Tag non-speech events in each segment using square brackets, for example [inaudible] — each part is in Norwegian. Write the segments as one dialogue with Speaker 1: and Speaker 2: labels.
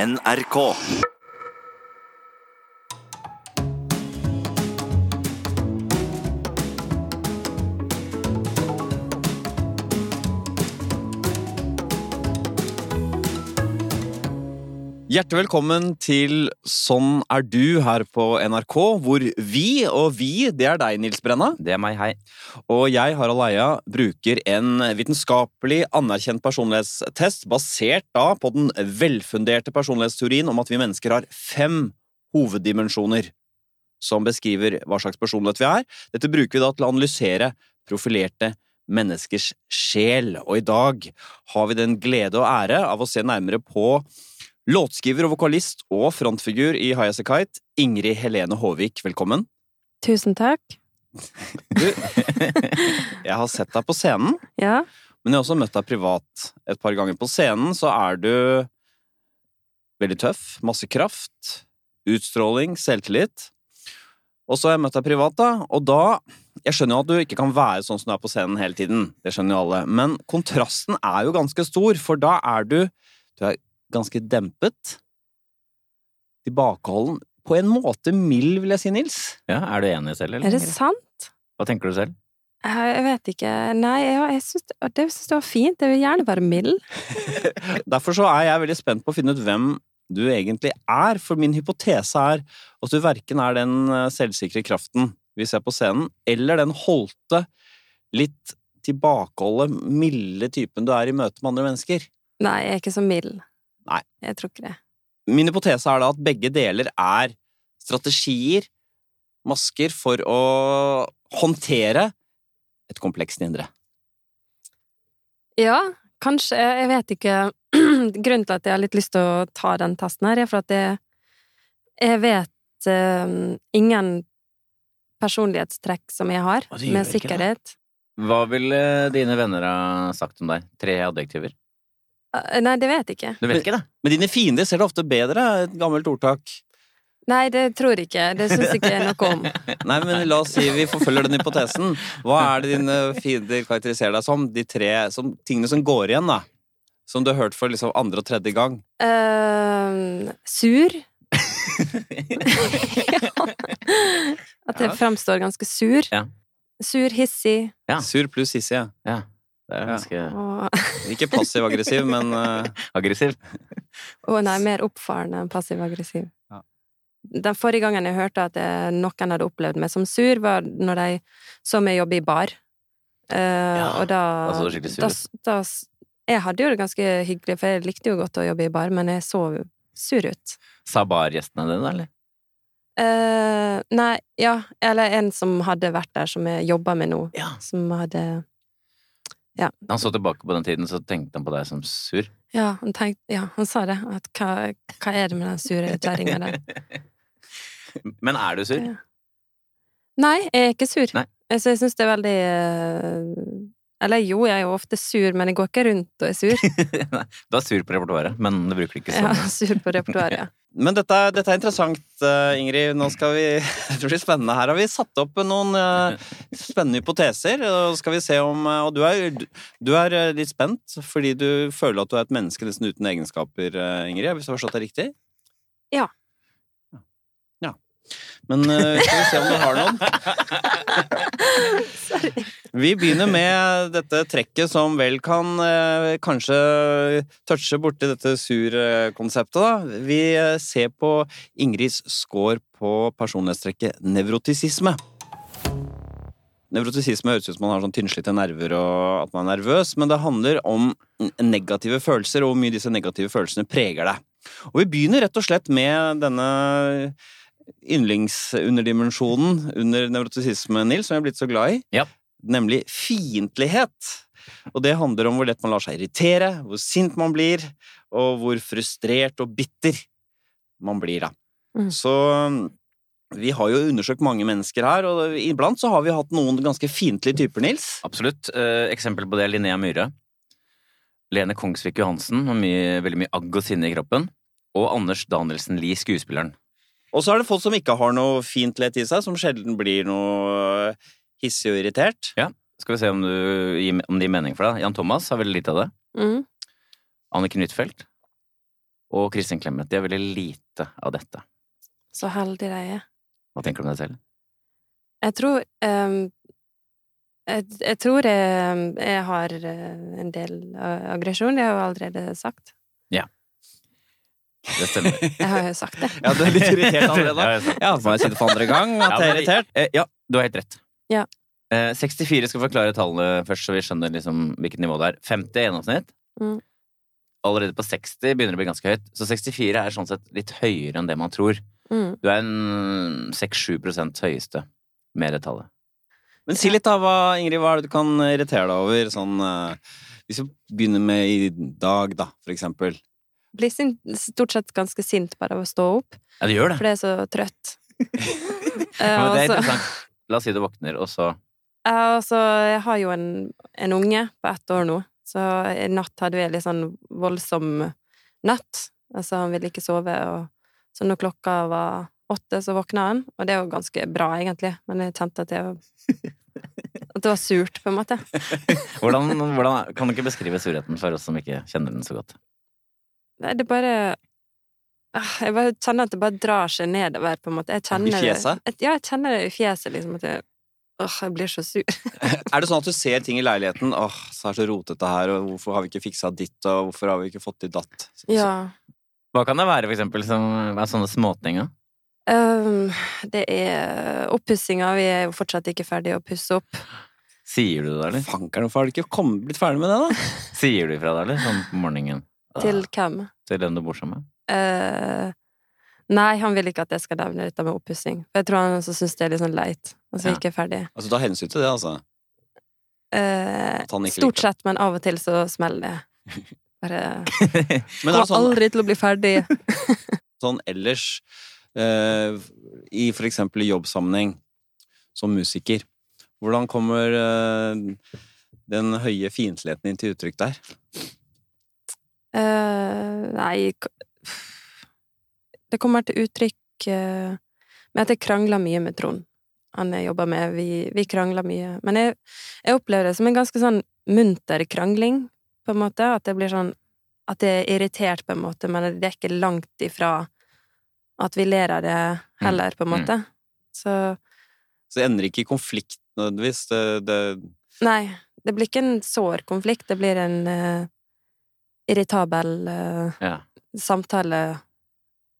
Speaker 1: NRK.
Speaker 2: Hjertelig velkommen til Sånn er du her på NRK, hvor vi, og vi, det er deg, Nils Brenna,
Speaker 3: Det er meg, hei.
Speaker 2: og jeg, Harald Eia, bruker en vitenskapelig anerkjent personlighetstest basert da på den velfunderte personlighetsteorien om at vi mennesker har fem hoveddimensjoner som beskriver hva slags personlighet vi er. Dette bruker vi da til å analysere profilerte menneskers sjel, og i dag har vi den glede og ære av å se nærmere på Låtskriver og vokalist og frontfigur i High As A Kite, Ingrid Helene Håvik, velkommen.
Speaker 4: Tusen takk.
Speaker 2: [laughs] Jeg har sett deg på scenen,
Speaker 4: Ja.
Speaker 2: men jeg har også møtt deg privat et par ganger. På scenen så er du veldig tøff, masse kraft, utstråling, selvtillit. Og så har jeg møtt deg privat, da, og da Jeg skjønner jo at du ikke kan være sånn som du er på scenen hele tiden, det skjønner jo alle, men kontrasten er jo ganske stor, for da er du Du er ganske dempet, tilbakeholden, på en måte mild, vil jeg si, Nils.
Speaker 3: Ja, er du enig selv, eller?
Speaker 4: Er det sant?
Speaker 3: Hva tenker du selv?
Speaker 4: Jeg jeg vet ikke. Nei, jeg, jeg syns det, synes det var fint. Jeg vil gjerne være mild.
Speaker 2: Derfor så er jeg veldig spent på å finne ut hvem du egentlig er, for min hypotese er at du verken er den eh, selvsikre kraften vi ser på scenen, eller den holdte, litt tilbakeholde, milde typen du er i møte med andre mennesker.
Speaker 4: Nei, jeg er ikke så mild.
Speaker 2: Nei.
Speaker 4: Jeg tror ikke det.
Speaker 2: Min hypotese er da at begge deler er strategier, masker, for å håndtere et komplekst indre.
Speaker 4: Ja, kanskje. Jeg jeg vet ikke. [clears throat] Grunnen til at jeg har litt lyst til å ta den testen her, er for at jeg, jeg vet eh, ingen personlighetstrekk som jeg har,
Speaker 2: Å, det gjør ikke
Speaker 4: med
Speaker 2: det.
Speaker 4: sikkerhet.
Speaker 3: Hva ville dine venner ha sagt om deg? Tre adjektiver.
Speaker 4: Eh, Nei, det vet jeg ikke.
Speaker 3: Du vet ikke det?
Speaker 2: Men dine fiender ser det ofte bedre, et gammelt ordtak.
Speaker 4: Nei, det tror jeg ikke. Det syns jeg ikke noe om.
Speaker 2: Nei, men la oss si vi forfølger den hypotesen. Hva er det dine fiender karakteriserer deg som? De tre som, tingene som går igjen, da. Som du har hørt for liksom andre og tredje gang.
Speaker 4: Eh,
Speaker 3: [laughs]
Speaker 4: sur. At jeg
Speaker 3: Ja.
Speaker 4: fremstår ganske sur.
Speaker 3: Ja.
Speaker 4: Sur, hissig
Speaker 3: Ja.
Speaker 2: Sur pluss hissig. ja.
Speaker 3: Ja. Det er ganske
Speaker 4: og,
Speaker 2: Ikke passiv-aggressiv, men eh,
Speaker 3: aggressiv.
Speaker 4: og nei, mer oppfarende enn passiv-aggressiv.
Speaker 2: Ja.
Speaker 4: Den forrige gangen jeg hørte at eh, noen hadde opplevd meg som sur, var når de så meg jobbe i bar. Eh, og da,
Speaker 3: da så du altså, skikkelig sur
Speaker 4: da,
Speaker 3: ut.
Speaker 4: s- da s- Jeg hadde jo det ganske hyggelig, for jeg likte jo godt å jobbe i bar, men jeg så sur ut.
Speaker 3: Sa bargjestene det, da, eller?
Speaker 4: Eh, nei, ja, eller en som hadde vært der, som jeg jobba med nå.
Speaker 3: Ja.
Speaker 4: Som hadde
Speaker 3: Da Han så tilbake på den tiden, så tenkte han på deg som sur.
Speaker 4: Ja, han, tenkte, ja, han sa det. At hva, hva er det med den sure kjerringa
Speaker 3: [laughs]
Speaker 4: der?
Speaker 3: Men er du sur?
Speaker 4: Ja. Nei, jeg er ikke sur.
Speaker 3: Nei.
Speaker 4: Så jeg syns det er veldig eh, Eller jo, jeg er jo ofte sur, men jeg går ikke rundt og er
Speaker 3: [laughs]
Speaker 4: sur.
Speaker 3: [laughs] Nei, du er sur på repertoaret, men du bruker det ikke
Speaker 4: Jeg
Speaker 3: sånn.
Speaker 4: er sur på repertoaret. ja.
Speaker 2: Men dette, er- dette er interessant, eh, Ingrid. Nå skal vi [laughs] Jeg tror det blir spennende. Her har vi satt opp noen eh, spennende hypoteser. Og skal vi se om eh, Og du er, du er eh, litt spent fordi du føler at du er et menneske nesten uten egenskaper, eh, Ingrid. Hvis jeg har forstått deg riktig?
Speaker 4: Ja.
Speaker 2: Ja. Men eh, skal vi se om du har noen.
Speaker 4: Sorry.
Speaker 2: Vi begynner med dette trekket som vel kan eh, kanskje touche borti dette sur-konseptet, da. Vi eh, ser på Ingrids score på personlighetstrekket nevrotisisme. Nevrotisisme høres ut som man har sånn tynnslitte nerver og at man er nervøs, men det handler om n- negative følelser og hvor mye disse negative følelsene preger deg. Og vi begynner rett og slett med denne yndlingsunerdimensjonen under nevrotisisme, Nils, som jeg er blitt så glad i nemlig fiendtlighet. Og det handler om hvor lett man lar seg irritere, hvor sint man blir, og hvor frustrert og bitter man blir, da.
Speaker 4: Mm.
Speaker 2: Så vi har jo undersøkt mange mennesker her, og iblant så har vi hatt noen ganske fiendtlige typer, Nils.
Speaker 3: Absolutt. Eh, eksempel på det er Linnea Myhre. Lene Kongsvik Johansen med mye, veldig mye agg og sinne i kroppen. Og Anders Danielsen Lie, skuespilleren.
Speaker 2: Og så er det folk som ikke har noe fiendtlighet i seg, som sjelden blir noe eh, hissig og irritert.
Speaker 3: Skal vi se om, du, gir- om det gir mening for deg. Jan Thomas har veldig lite av det.
Speaker 4: Mm.
Speaker 3: Anniken Huitfeldt. og Kristin Clemet. De har veldig lite av dette.
Speaker 4: Så heldig de er.
Speaker 3: Hva tenker du om deg selv?
Speaker 4: Jeg tror ehm, jeg, jeg tror jeg, jeg har eh, en del eh, aggresjon. Det har jeg jo allerede sagt.
Speaker 3: Det stemmer.
Speaker 4: Jeg har jo sagt
Speaker 3: [laughs]
Speaker 4: det.
Speaker 2: Ja, du er litt irritert allerede.
Speaker 3: Ja, jeg sa det.
Speaker 2: Ja, må jeg si det for andre gang at [laughs]
Speaker 3: Ja,
Speaker 2: jeg er
Speaker 3: men-
Speaker 2: irritert.
Speaker 3: Eh, ja, du har helt rett.
Speaker 4: Ja.
Speaker 3: Eh, 64 skal forklare tallene først, så vi skjønner liksom hvilket nivå det er. 50 er gjennomsnitt.
Speaker 4: Mm.
Speaker 3: Allerede på 60 begynner det å bli ganske høyt. Så 64 er sånn sett litt høyere enn det man tror.
Speaker 4: Mm.
Speaker 3: Du er en 6-7 prosent høyeste med det tallet.
Speaker 2: Men si litt da, hva, Ingrid, hva er det du kan irritere deg over? Sånn, eh, hvis vi begynner med i dag, da, for eksempel.
Speaker 4: Blir sint, stort sett ganske sint bare av å stå opp,
Speaker 3: Ja, det gjør det.
Speaker 4: for det er så trøtt.
Speaker 3: [laughs]
Speaker 4: Eh,
Speaker 3: Ja, men det er
Speaker 4: og så-
Speaker 3: interessant. La oss si du våkner, og så
Speaker 4: Ja, altså, jeg har jo en, en unge på ett år nå, så i natt hadde vi en litt sånn voldsom natt. Altså, han ville ikke sove, og så når klokka var åtte, så våkna han, og det er jo ganske bra, egentlig, men jeg kjente at det
Speaker 3: [laughs]
Speaker 4: var At det var surt, på en måte.
Speaker 3: hvordan, hvordan, Kan du ikke beskrive surheten for oss som ikke kjenner den så godt?
Speaker 4: Nei, det bare Ah, Jeg bare kjenner at det bare drar seg nedover, på en måte. Jeg kjenner
Speaker 2: I fjeset?
Speaker 4: Det, ja, jeg kjenner det i fjeset, liksom. At jeg, åh, jeg blir så sur. [laughs]
Speaker 2: Er det sånn at du ser ting i leiligheten? Åh, så er det så rotete her, og hvorfor har vi ikke fiksa ditt, og hvorfor har vi ikke fått til datt? Så-
Speaker 4: Ja.
Speaker 3: Hva kan det være, for eksempel, som er sånne småting? da?
Speaker 4: Øhm, det er oppussinga. Vi er jo fortsatt ikke ferdige å pusse opp.
Speaker 3: Sier du det, da,
Speaker 2: så-
Speaker 3: eller?
Speaker 2: Fankeren, hvorfor har du ikke kommet, blitt ferdig med det, da?
Speaker 3: Sier du ifra da, eller? Sånn på morgenen?
Speaker 4: Til hvem?
Speaker 3: Til den du bor sammen med?
Speaker 4: Øh, nei, han vil ikke at jeg skal nevne dette med oppussing. For jeg tror han også syns det er litt sånn leit. Altså
Speaker 3: Ja.
Speaker 4: ikke ferdig.
Speaker 2: Altså, Ta hensyn til det, altså.
Speaker 4: Øh,
Speaker 2: At han ikke
Speaker 4: stort
Speaker 2: liker
Speaker 4: sett, men av og til så smeller
Speaker 2: [laughs]
Speaker 4: det. Bare
Speaker 2: Men er det
Speaker 4: Kommer
Speaker 2: sånn,
Speaker 4: aldri til å bli ferdig.
Speaker 2: sånn ellers, eh, i for eksempel i jobbsammenheng, som musiker, hvordan kommer eh, den høye fiendtligheten din til uttrykk der?
Speaker 4: Øh, nei k- Det kommer til uttrykk øh, med at jeg krangler mye med Trond. Han jeg jobber med. Vi, vi krangler mye. Men jeg, jeg opplever det som en ganske sånn munter krangling, på en måte. At jeg blir sånn At jeg er irritert, på en måte, men det er ikke langt ifra at vi ler av det heller, på en
Speaker 3: Mm.
Speaker 4: måte. Så
Speaker 2: Så det ender ikke i konflikt nødvendigvis. Det, det,
Speaker 4: Nei, det blir ikke en sår konflikt. Det blir en øh, irritabel øh,
Speaker 3: Ja.
Speaker 4: samtale.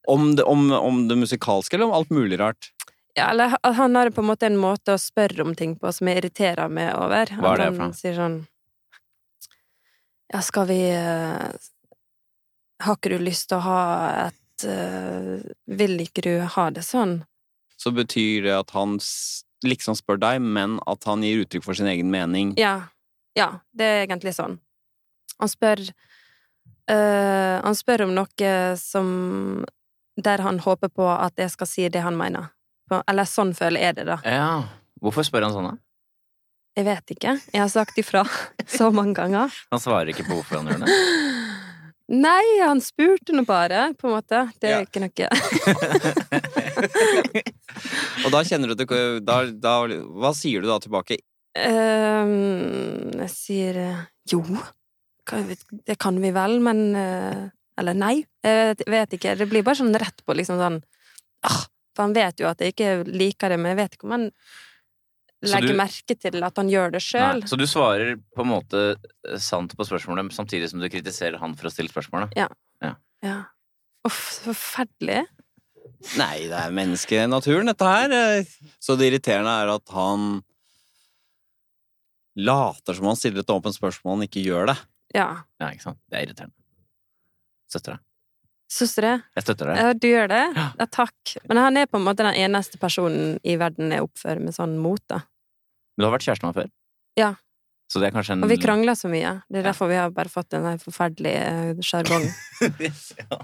Speaker 2: om, det, om, om det musikalske, eller om alt mulig rart?
Speaker 4: Ja, eller ha- han har på en måte en måte å spørre om ting på som jeg irriterer meg over.
Speaker 3: Hva er det for
Speaker 4: At
Speaker 3: noe?
Speaker 4: Han sier sånn Ja, skal vi eh, Har ikke du lyst til å ha et eh, Vil ikke du ha det sånn?
Speaker 2: Så betyr det at han s- liksom spør deg, men at han gir uttrykk for sin egen mening.
Speaker 4: Ja. Ja, det er egentlig sånn. Han spør eh, Han spør om noe som Der han håper på at jeg skal si det han mener. På- Eller sånn føler jeg det, da.
Speaker 3: ja. Hvorfor spør han sånn, da?
Speaker 4: Jeg vet ikke. Jeg har sagt ifra [laughs] så mange ganger.
Speaker 3: Han svarer ikke på hvorfor han gjør det.
Speaker 4: Nei, han spurte nå bare, på en måte. Det er
Speaker 2: Ja.
Speaker 4: ikke noe
Speaker 2: Og da kjenner du at du da, da, Hva sier du da tilbake?
Speaker 4: Ehm, Jeg sier eh, jo, hva vet- det kan vi vel, men eh, Eller nei, jeg vet- vet ikke. Det blir bare sånn rett på, liksom sånn ah, For han vet jo at jeg ikke liker det, men jeg vet ikke om han
Speaker 3: Så
Speaker 4: legger
Speaker 3: du-
Speaker 4: merke til at han gjør det sjøl.
Speaker 3: Nei. Så du svarer på en måte eh, sant på spørsmålet, samtidig som du kritiserer han for å stille spørsmålet?
Speaker 4: Ja. Uff, så forferdelig.
Speaker 2: Nei, det er menneskenaturen, dette her. Så det irriterende er at han later som han stiller et åpent spørsmål, han ikke gjør det.
Speaker 4: Ja.
Speaker 3: Ja, ikke sant? Det er irriterende. Støtter deg.
Speaker 4: Syns du det?
Speaker 3: Jeg støtter deg.
Speaker 4: Ja, du gjør det?
Speaker 3: Ja.
Speaker 4: Ja, takk. Men han er på en måte den eneste personen i verden jeg oppfører med sånn mot, da.
Speaker 3: Men du har vært kjæresten med han før?
Speaker 4: Ja.
Speaker 3: Så det er kanskje en
Speaker 4: Og vi krangler så mye.
Speaker 3: Mm.
Speaker 4: Det er
Speaker 3: Ja.
Speaker 4: derfor vi har bare fått den der forferdelige eh,
Speaker 3: [laughs]
Speaker 4: sjargongen.
Speaker 3: Ja.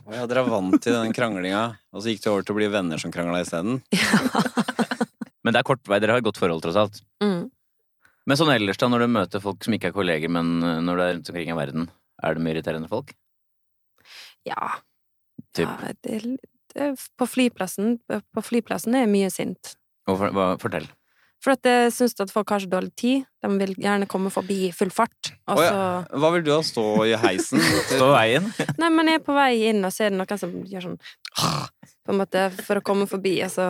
Speaker 2: Å ja, dere er vant til den kranglinga, og så gikk det over til å bli venner som krangla isteden.
Speaker 3: [laughs] Men det er kort vei. Dere har et godt forhold, tross alt.
Speaker 4: Mm.
Speaker 3: Men sånn ellers, da, når du møter folk som ikke er kolleger, men eh, når du er rundt omkring i verden, er det mye irriterende folk?
Speaker 4: Ja.
Speaker 3: Typ.
Speaker 4: ja det, er litt- det, er på eh, flyplassen På flyplassen er jeg mye sint.
Speaker 3: Hvorfor- hva, fortell.
Speaker 4: For at jeg syns at folk har så dårlig tid. De vil gjerne komme forbi i full fart.
Speaker 2: Å,
Speaker 4: Og så
Speaker 3: [laughs]
Speaker 2: ja. Hva vil du ha? Stå i heisen?
Speaker 3: Stå i veien.
Speaker 4: Nei, men jeg er på vei inn, og så er det noen som gjør sånn På en måte for å komme forbi, og så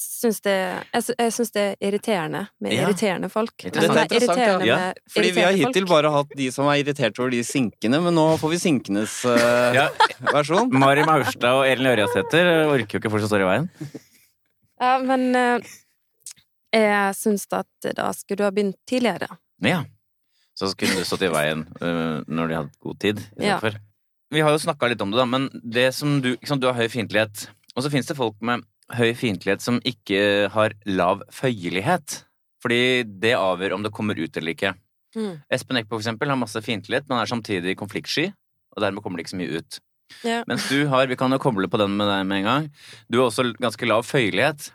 Speaker 4: syns det Jeg, sy- jeg syns det er irriterende med
Speaker 3: Ja.
Speaker 4: irriterende folk.
Speaker 3: Interessant.
Speaker 4: Men det er
Speaker 2: Interessant, ja.
Speaker 4: irriterende
Speaker 3: Ja,
Speaker 4: med
Speaker 2: Fordi vi har
Speaker 4: irriterende
Speaker 2: hittil
Speaker 4: folk.
Speaker 2: bare hatt de som er irritert over de sinkene, men nå får vi sinkenes eh,
Speaker 3: Ja.
Speaker 2: versjon.
Speaker 3: Mari Maurstad og Elin Ørjasæter orker jo ikke folk som står i veien.
Speaker 4: Ja, men eh, jeg syns at da skulle du ha begynt tidligere.
Speaker 3: Ja. Så kunne du stått i veien øh, når de hadde god tid. i stedet
Speaker 4: Ja.
Speaker 3: for. Vi har jo snakka litt om det, da, men det som du, ikke sant, du har høy fiendtlighet. Og så fins det folk med høy fiendtlighet som ikke har lav føyelighet. Fordi det avgjør om det kommer ut eller ikke.
Speaker 4: Mm.
Speaker 3: Espen Eckbo for eksempel, har masse fiendtlighet, men er samtidig konfliktsky. Og dermed kommer det ikke så mye ut.
Speaker 4: Ja.
Speaker 3: Mens du har, vi kan jo koble på den med deg med en gang, du har også ganske lav føyelighet.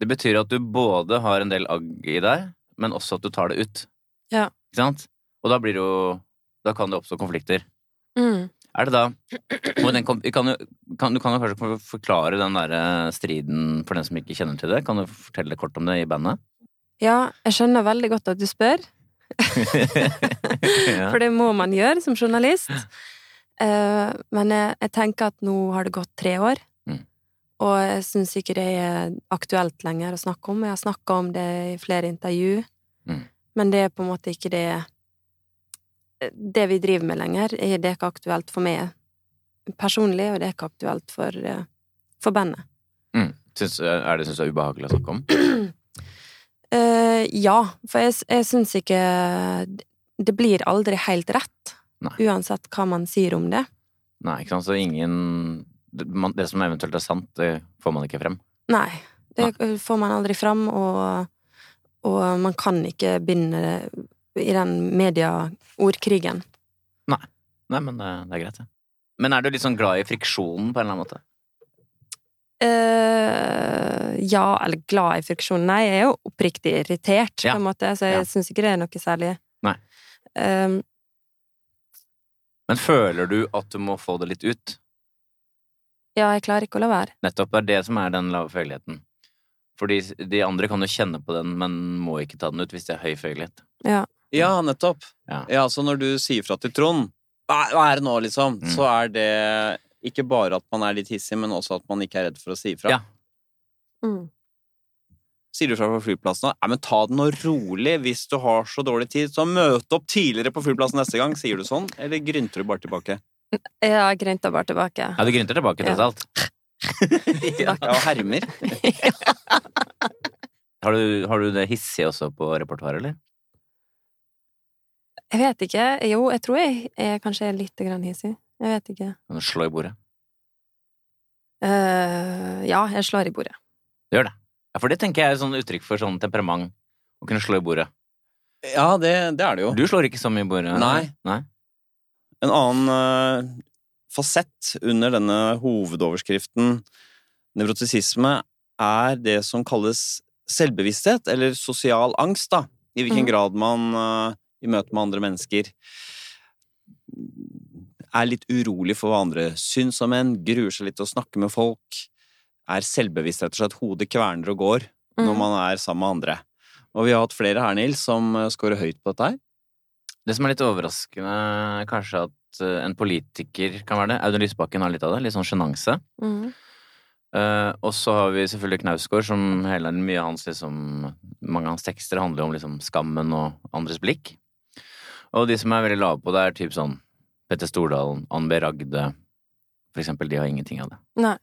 Speaker 3: Det betyr at du både har en del agg i deg, men også at du tar det ut.
Speaker 4: Ja.
Speaker 3: Ikke sant? Og da blir det jo Da kan det oppstå konflikter.
Speaker 4: Mm.
Speaker 3: Er det da og den, kom- vi kan, jo- kan, Du kan jo kanskje forklare den derre striden for den som ikke kjenner til det? Kan du fortelle kort om det i bandet?
Speaker 4: Ja, jeg skjønner veldig godt at du spør,
Speaker 3: ja.
Speaker 4: for det må man gjøre som journalist. Eh, men jeg, jeg tenker at nå har det gått tre år,
Speaker 3: Mm.
Speaker 4: og jeg syns ikke det er aktuelt lenger å snakke om. Jeg har snakka om det i flere intervju,
Speaker 3: Mm.
Speaker 4: men det er på en måte ikke det Det vi driver med lenger, er- det er ikke aktuelt for meg personlig, og det er ikke aktuelt for, eh, for bandet.
Speaker 3: Mm. Syns, er det syns du er ubehagelig å snakke om?
Speaker 4: Eh, ja, for jeg, s- jeg syns ikke Det blir aldri helt rett.
Speaker 3: Nei.
Speaker 4: Uansett hva man sier om det.
Speaker 3: Nei, ikke sant? Så ingen det, man, det som eventuelt er sant, det får man ikke frem.
Speaker 4: Nei. Det får man aldri fram, og, og man kan ikke begynne det i den media-ordkrigen.
Speaker 3: Nei, men det, det er greit, det. Men er du litt sånn glad i friksjonen på en eller annen måte?
Speaker 4: Eh, ja, eller glad i friksjon. Nei, jeg er jo oppriktig irritert,
Speaker 3: Ja.
Speaker 4: på en måte, så jeg
Speaker 3: Ja.
Speaker 4: syns ikke det er noe særlig.
Speaker 3: Nei.
Speaker 4: Eh,
Speaker 3: Men føler du at du må få det litt ut?
Speaker 4: ja, jeg klarer ikke å la være.
Speaker 3: Nettopp det er det som er den lave føyeligheten. Fordi de andre kan jo kjenne på den, men må ikke ta den ut hvis det er høy føyelighet.
Speaker 2: Ja, nettopp.
Speaker 3: Ja.
Speaker 2: Ja, så når du sier fra til Trond Hva hva er det nå, liksom?
Speaker 3: Mm.
Speaker 2: Så er det ikke bare at man er litt hissig, men også at man ikke er redd for å si fra.
Speaker 3: Ja.
Speaker 4: Mm.
Speaker 2: Sier du fra på flyplassen nå? Nei, men ta det nå rolig hvis du har så dårlig tid. Så møt opp tidligere på flyplassen neste gang. Sier du sånn, eller grynter du bare tilbake?
Speaker 4: Ja, grynta bare tilbake.
Speaker 3: Ja, du grynter tilbake, tross
Speaker 4: Ja.
Speaker 3: alt.
Speaker 2: Ja, og hermer.
Speaker 3: Har du, har du det hissige også på repertoaret, eller?
Speaker 4: Jeg vet ikke. Jo, jeg tror jeg er kanskje er litt grann hissig. Jeg vet
Speaker 3: Kan
Speaker 4: ikke.
Speaker 3: du slå i bordet?
Speaker 4: Eh, ja, jeg slår i bordet.
Speaker 3: Gjør det. Ja, for det tenker jeg er sånn uttrykk for sånn temperament. Å kunne slå i bordet.
Speaker 2: Ja, det, det er det jo.
Speaker 3: Du slår ikke så mye i bordet?
Speaker 2: Nei.
Speaker 3: Nei?
Speaker 2: En annen eh, fasett under denne hovedoverskriften nevrotisisme er det som kalles selvbevissthet, eller sosial angst, da. I hvilken
Speaker 4: Mhm.
Speaker 2: grad man eh, i møte med andre mennesker er litt urolig for hva andre syns om en, gruer seg litt til å snakke med folk, er selvbevisst rett og slett. Hodet kverner og går
Speaker 4: Mm.
Speaker 2: når man er sammen med andre. Og vi har hatt flere her, Nils, som eh, scorer høyt på dette her.
Speaker 3: Det som er litt overraskende, er kanskje at eh, en politiker kan være det. Audun Lysbakken har litt av det. Litt sånn sjenanse.
Speaker 4: Mm.
Speaker 3: Eh, og så har vi selvfølgelig Knausgård, som hele mye av hans liksom Mange av hans tekster handler jo om liksom skammen og andres blikk. Og de som er veldig lave på det, er typ sånn Petter Stordalen, Ann B. Ragde For eksempel, de har ingenting av det.
Speaker 4: Nei.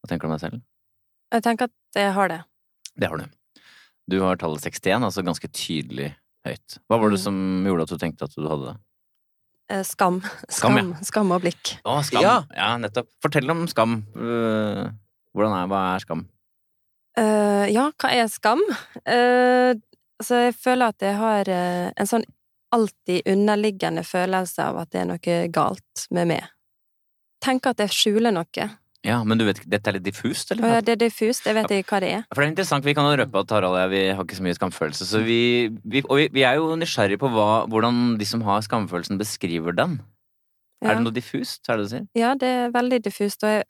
Speaker 3: Hva tenker du om deg selv?
Speaker 4: Jeg tenker at jeg har det.
Speaker 3: Det har du. Du har tallet 61, altså ganske tydelig høyt. Hva var det
Speaker 4: Mm.
Speaker 3: som gjorde at du tenkte at du hadde det?
Speaker 4: Eh, skam.
Speaker 3: Skam,
Speaker 4: Skam,
Speaker 3: ja.
Speaker 4: skam og blikk.
Speaker 3: Å, skam! Ja.
Speaker 2: Ja.
Speaker 3: nettopp. Fortell om skam. Eh, Hvordan er, hva er skam?
Speaker 4: Eh, ja, hva er skam? Eh, altså, jeg føler at jeg har eh, en sånn alltid underliggende følelse av at det er noe galt med meg. Tenker at jeg skjuler noe.
Speaker 3: Ja, men du vet, dette er litt diffust, eller?
Speaker 4: Og ja, det er diffust, jeg vet ikke hva det er.
Speaker 3: For det er interessant, Vi kan jo røpe at Harald og jeg vi har ikke så mye skamfølelse. Så vi, vi, og vi, vi er jo nysgjerrige på hva, hvordan de som har skamfølelsen, beskriver den.
Speaker 4: Ja.
Speaker 3: Er det noe diffust? er det det du sier?
Speaker 4: Ja, det er veldig diffust, og jeg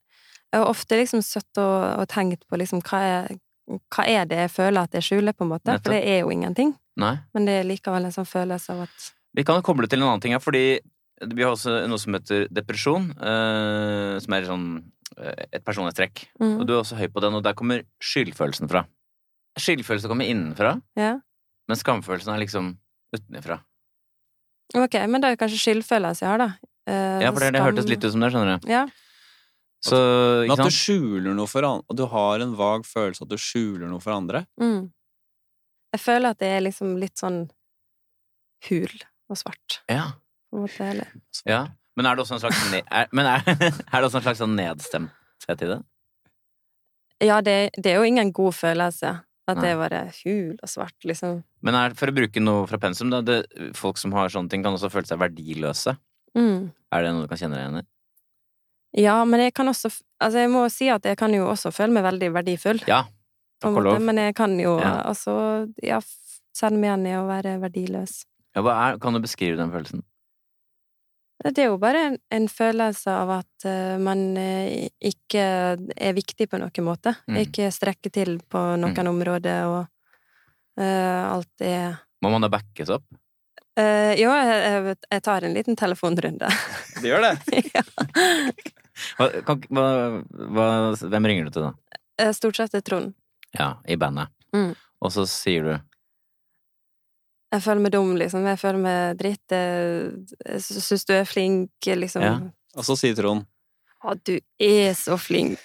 Speaker 4: jeg har ofte liksom søtt og, og tenkt på liksom hva er, hva er det jeg føler at jeg skjuler, på en måte? For det er jo ingenting.
Speaker 3: Nei.
Speaker 4: Men det er likevel en sånn følelse av at
Speaker 3: Vi kan koble til en annen ting her, fordi vi har også noe som heter depresjon, eh, som er sånn eh, et personlighetstrekk.
Speaker 4: mm,
Speaker 3: Og du er også høy på den, og der kommer skyldfølelsen fra. Skyldfølelsen kommer innenfra,
Speaker 4: Ja.
Speaker 3: men skamfølelsen er liksom utenfra.
Speaker 4: Ok, men da er det kanskje skyldfølelse jeg har, da. Eh,
Speaker 3: Ja, for det, det
Speaker 4: skam-
Speaker 3: hørtes litt ut som det, skjønner du.
Speaker 4: Ja.
Speaker 3: Så,
Speaker 2: Men
Speaker 3: ikke
Speaker 2: at du
Speaker 3: sant?
Speaker 2: skjuler noe for andre, og du har en vag følelse at du skjuler noe for andre.
Speaker 4: Mm. Jeg føler at det er liksom litt sånn hul og svart,
Speaker 3: Ja.
Speaker 4: på en måte. Eller.
Speaker 3: ja. Men er det også en slags, ne er, men er, [laughs] er det også en slags sånn nedstemthet i det?
Speaker 4: Ja, det, det er jo ingen god følelse at
Speaker 3: Nei.
Speaker 4: det er bare hul og svart, liksom.
Speaker 3: Men er, for å bruke noe fra pensum, da, det, folk som har sånne ting, kan også føle seg verdiløse.
Speaker 4: Mm.
Speaker 3: Er det noe du kan kjenne deg igjen i?
Speaker 4: Ja, men jeg kan også f- Altså, jeg må si at jeg kan jo også føle meg veldig verdifull,
Speaker 3: Ja. Takk
Speaker 4: på en
Speaker 3: og
Speaker 4: måte,
Speaker 3: lov.
Speaker 4: men jeg kan jo
Speaker 3: Ja.
Speaker 4: altså Ja, f- kjenne meg igjen i å være verdiløs.
Speaker 3: Ja, hva er, kan du beskrive den følelsen?
Speaker 4: Det er jo bare en, en følelse av at eh, man eh, ikke er viktig på noen måte.
Speaker 3: Mm.
Speaker 4: Ikke strekker til på noen områder, og eh, alt er
Speaker 3: Må man da backes opp?
Speaker 4: Eh, Jo, jeg, jeg, jeg tar en liten telefonrunde. [laughs]
Speaker 2: Det gjør det. [laughs]
Speaker 4: ja.
Speaker 3: Hva, kan, hva, hva, hvem ringer du til, da?
Speaker 4: Eh, Stort sett er Trond.
Speaker 3: Ja, i bandet.
Speaker 4: Mm.
Speaker 3: Og så sier du
Speaker 4: Jeg føler meg dum, liksom. Jeg føler meg dritt. Jeg, jeg sy- syns du er flink, liksom.
Speaker 3: Ja.
Speaker 2: Og så sier Trond
Speaker 4: Å, du er så flink!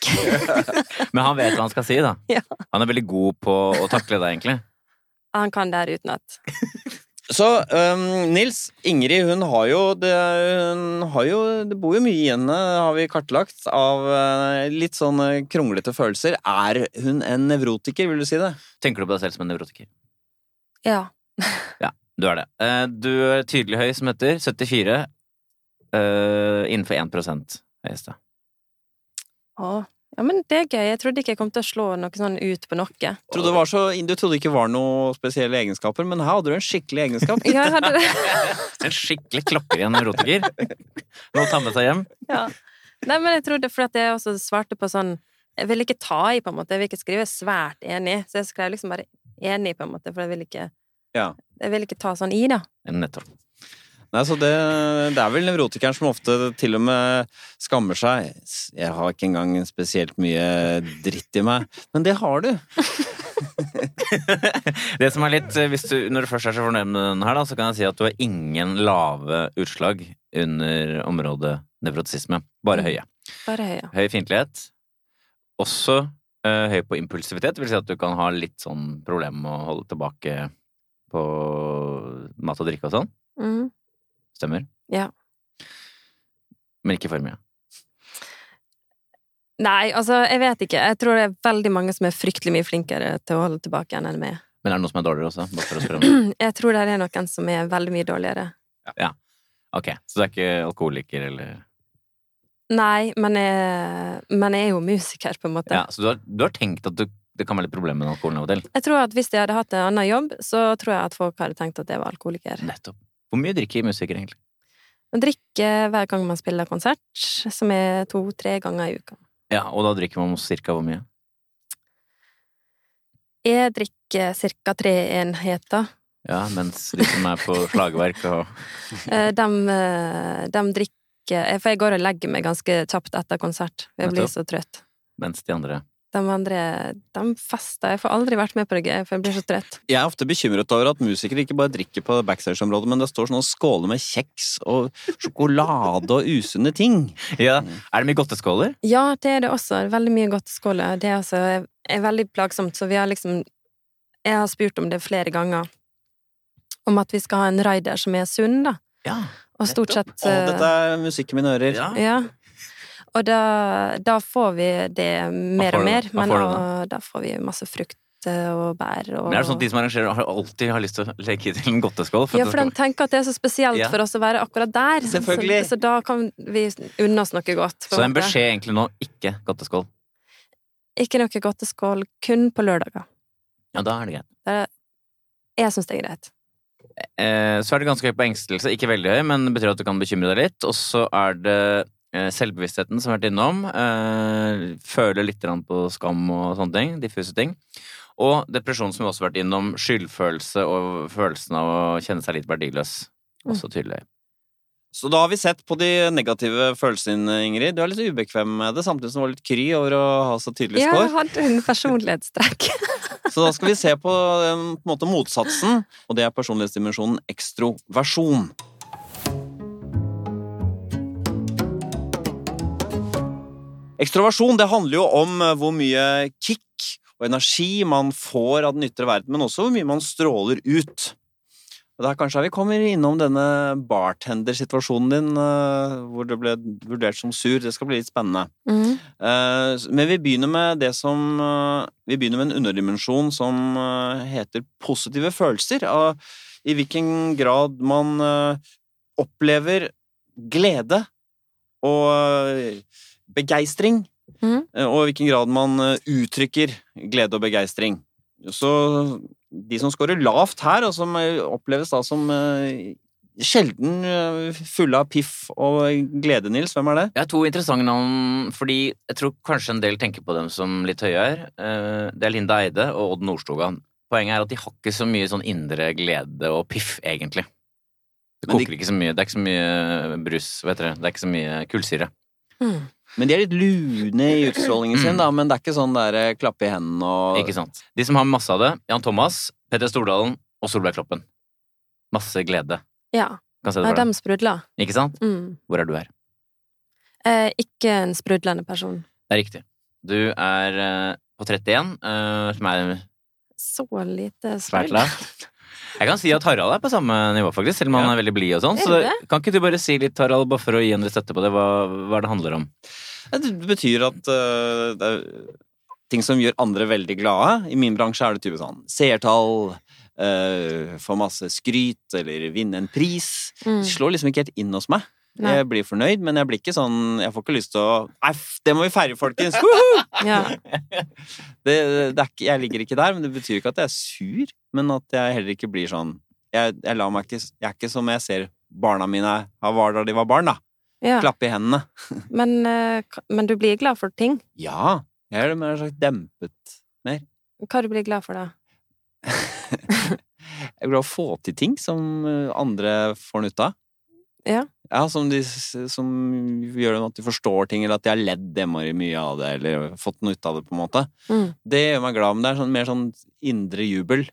Speaker 4: [laughs]
Speaker 3: Men han vet hva han skal si, da.
Speaker 4: Ja.
Speaker 3: Han er veldig god på å takle det, egentlig.
Speaker 4: Han kan det her utenat.
Speaker 2: Så øhm, Nils, Ingrid hun har jo det, hun har jo det bor jo mye i henne, har vi kartlagt, av øh, litt sånn øh, kronglete følelser. Er hun en nevrotiker, vil du si det?
Speaker 3: Tenker du på deg selv som en nevrotiker?
Speaker 4: Ja.
Speaker 3: Du er det. Eh, Du er tydelig høy, som heter 74. eh, innenfor 1 høyeste.
Speaker 4: Å. Ja, men det er gøy. Jeg trodde ikke jeg kom til å slå noe sånn ut på noe.
Speaker 2: Trodde det var så, du trodde ikke det var noen spesielle egenskaper, men her hadde du en skikkelig [laughs] egenskap.
Speaker 4: Ja, jeg hadde det.
Speaker 3: En skikkelig klokkeren nevrotiker. Må ta med seg hjem.
Speaker 4: Ja. Nei, men jeg trodde fordi at jeg også svarte på sånn Jeg ville ikke ta i, på en måte. Jeg ville ikke skrive 'svært enig', så jeg skrev liksom bare 'enig', på en måte, for jeg ville ikke
Speaker 2: Ja.
Speaker 4: Jeg ville ikke ta sånn i, da.
Speaker 3: Nettopp.
Speaker 2: Nei, så det, det er vel nevrotikeren som ofte til og med skammer seg. Jeg har ikke engang spesielt mye dritt i meg. Men det har du.
Speaker 3: Det som er litt, eh, hvis du, Når du først er så fornøyd med den her, da, så kan jeg si at du har ingen lave utslag under området nevrotisisme. Bare høye.
Speaker 4: Bare høye.
Speaker 3: Høy fiendtlighet. Også eh, høy på impulsivitet. Det vil si at du kan ha litt sånn problem med å holde tilbake på mat og drikke og sånn.
Speaker 4: Mm.
Speaker 3: Stemmer?
Speaker 4: Ja.
Speaker 3: Men ikke for mye.
Speaker 4: Nei, altså, jeg vet ikke. Jeg tror det er veldig mange som er fryktelig mye flinkere til å holde tilbake enn meg.
Speaker 3: Men er det noe som er dårligere også? Bare for å spørre [laughs] om det.
Speaker 4: [clears throat] Jeg tror det er noen som er veldig mye dårligere.
Speaker 3: Ok, så du er ikke alkoholiker eller
Speaker 4: Nei, men jeg, men jeg er jo musiker, på en måte.
Speaker 3: Ja, så du har, du har tenkt at du, det kan være litt problemer med alkoholen av og til?
Speaker 4: Jeg tror at hvis jeg hadde hatt en annen jobb, så tror jeg at folk hadde tenkt at jeg var alkoholiker.
Speaker 3: Nettopp. Hvor mye drikker musikere egentlig?
Speaker 4: Man drikker hver gang man spiller konsert, som er to-tre ganger i uka.
Speaker 3: Ja, og da drikker man cirka hvor mye?
Speaker 4: Jeg drikker ca. tre enheter.
Speaker 3: Ja, mens de som er [laughs] på slagverk og
Speaker 4: De, eh, drikker eh, For jeg går og legger meg ganske kjapt etter konsert. Jeg blir så trøtt.
Speaker 3: Mens de andre
Speaker 4: De andre de fester. Jeg får aldri vært med på det gøy, for jeg blir så trøtt.
Speaker 2: Jeg er ofte bekymret over at musikere ikke bare drikker på backstage-området, men det står sånn og skåler med kjeks og sjokolade og usunne ting.
Speaker 3: Ja, er det mye godteskåler?
Speaker 4: Ja, det er det også. Veldig mye godt skåle. Det er, altså, er veldig plagsomt, så vi har liksom Jeg har spurt om det flere ganger. Om at vi skal ha en raider som er sunn, da.
Speaker 3: Ja.
Speaker 4: Og stort sett
Speaker 2: Nettopp. Å, dette er musikk i mine ører.
Speaker 3: Ja.
Speaker 4: Ja. Og da, da får vi det mer
Speaker 3: Hva får
Speaker 4: og
Speaker 3: du da?
Speaker 4: mer,
Speaker 3: Hva
Speaker 4: men
Speaker 3: får du
Speaker 4: da? da får vi masse frukt eh, og bær og
Speaker 3: Men er det sånn at de som arrangerer, har alltid har lyst til å legge til en godteskål?
Speaker 4: ja,
Speaker 3: at det
Speaker 4: for de
Speaker 3: skal-
Speaker 4: tenker at det er så spesielt
Speaker 3: Ja.
Speaker 4: for oss å være akkurat der.
Speaker 2: Selvfølgelig.
Speaker 4: Så, så da kan vi unne oss noe godt. på
Speaker 3: Så det er en
Speaker 4: måte.
Speaker 3: beskjed egentlig nå ikke godteskål.
Speaker 4: Ikke noe godteskål kun på lørdager.
Speaker 3: Ja, da er det greit.
Speaker 4: Jeg syns det er greit.
Speaker 3: Eh, så er det ganske høy på engstelse. Ikke veldig høy, men det betyr at du kan bekymre deg litt. Og så er det eh, selvbevisstheten som vi har vært innom. Eh, føler litt grann på skam og sånne ting. Diffuse ting. Og depresjon som vi også har vært innom. Skyldfølelse og følelsen av å kjenne seg litt verdiløs. Også tydelig.
Speaker 2: Så da har vi sett på de negative følelsene dine, Ingrid. Du er litt ubekvem med det, samtidig som du var litt kry over å ha så tydelig
Speaker 4: Ja, jeg
Speaker 2: score.
Speaker 4: hadde en personlighetstrekk.
Speaker 2: Så da skal vi se på, eh, på en måte motsatsen, og det er personlighetsdimensjonen ekstroversjon. Ekstroversjon det handler jo om eh, hvor mye kick og energi man får av den ytre verden, men også hvor mye man stråler ut. Og det er kanskje her vi kommer innom denne bartendersituasjonen din, eh, hvor du ble vurdert som sur. Det skal bli litt spennende.
Speaker 4: Mm.
Speaker 2: Eh, Men vi begynner med det som eh, Vi begynner med en underdimensjon som eh, heter positive følelser. av I hvilken grad man eh, opplever glede og eh, begeistring.
Speaker 4: Mhm.
Speaker 2: eh, Og i hvilken grad man eh, uttrykker glede og begeistring. Så de som scorer lavt her, og som eh, oppleves da som eh, sjelden eh, fulle av piff og glede, Nils, hvem er det?
Speaker 3: Jeg har to interessante navn, fordi jeg tror kanskje en del tenker på dem som litt høyere. Eh, Det er Linda Eide og Odd Nordstogan. Poenget er at de har ikke så mye sånn indre glede og piff, egentlig. Det
Speaker 2: Men de-
Speaker 3: koker ikke så mye. Det er ikke så mye brus, vet dere. Det er ikke så mye kullsyre.
Speaker 4: Mm.
Speaker 2: Men de er litt lune i utstrålingen sin, da. Men det er ikke sånn der eh, klappe i hendene og
Speaker 3: Ikke sant. De som har masse av det, Jan Thomas, Petter Stordalen og Solveig Kloppen. Masse glede.
Speaker 4: Ja.
Speaker 3: Kan se det
Speaker 4: ja,
Speaker 3: for deg.
Speaker 4: dem sprudler.
Speaker 3: Ikke sant?
Speaker 4: Mm.
Speaker 3: Hvor er du her?
Speaker 4: Eh, ikke en sprudlende person.
Speaker 3: Det er riktig. Du er eh, på 31, eh, som er
Speaker 4: Så lite
Speaker 3: svært
Speaker 4: sprudl.
Speaker 3: lavt. Jeg kan si at Harald er på samme nivå, faktisk, selv om han
Speaker 2: Ja.
Speaker 3: er veldig blid og sånn.
Speaker 4: Er
Speaker 3: Så
Speaker 4: du
Speaker 3: kan ikke du bare si litt, Harald, bare for å gi en litt støtte på det, hva, hva det handler om?
Speaker 2: Det betyr at eh, det er ting som gjør andre veldig glade. I min bransje er det typisk sånn seertall, eh, få masse skryt eller vinne en pris.
Speaker 4: Mm.
Speaker 2: Det slår liksom ikke helt inn hos meg.
Speaker 4: Nei.
Speaker 2: Jeg blir fornøyd, men jeg blir ikke sånn Jeg får ikke lyst til å Nei, f- det må vi feire, folkens! Woohoo!
Speaker 4: Ja.
Speaker 2: Det, det er ikke, jeg ligger ikke der, men det betyr ikke at jeg er sur. Men at jeg heller ikke blir sånn Jeg, jeg lar meg ikke Jeg er ikke som jeg ser barna mine har var da de var barn, da.
Speaker 4: ja.
Speaker 2: Klappe i hendene.
Speaker 4: Men, eh, k- men du blir glad for ting.
Speaker 2: Ja. Jeg er mer slags dempet.
Speaker 4: Hva du blir glad for, da?
Speaker 2: Jeg er glad i å få til ting som eh, andre får nytte av.
Speaker 4: Ja.
Speaker 2: Ja, som, de, s- som gjør at de forstår ting, eller at de har ledd innmari mye av det, eller fått noe ut av det, på en måte.
Speaker 4: Mm.
Speaker 2: Det gjør meg glad, men det er sånn, mer sånn indre jubel.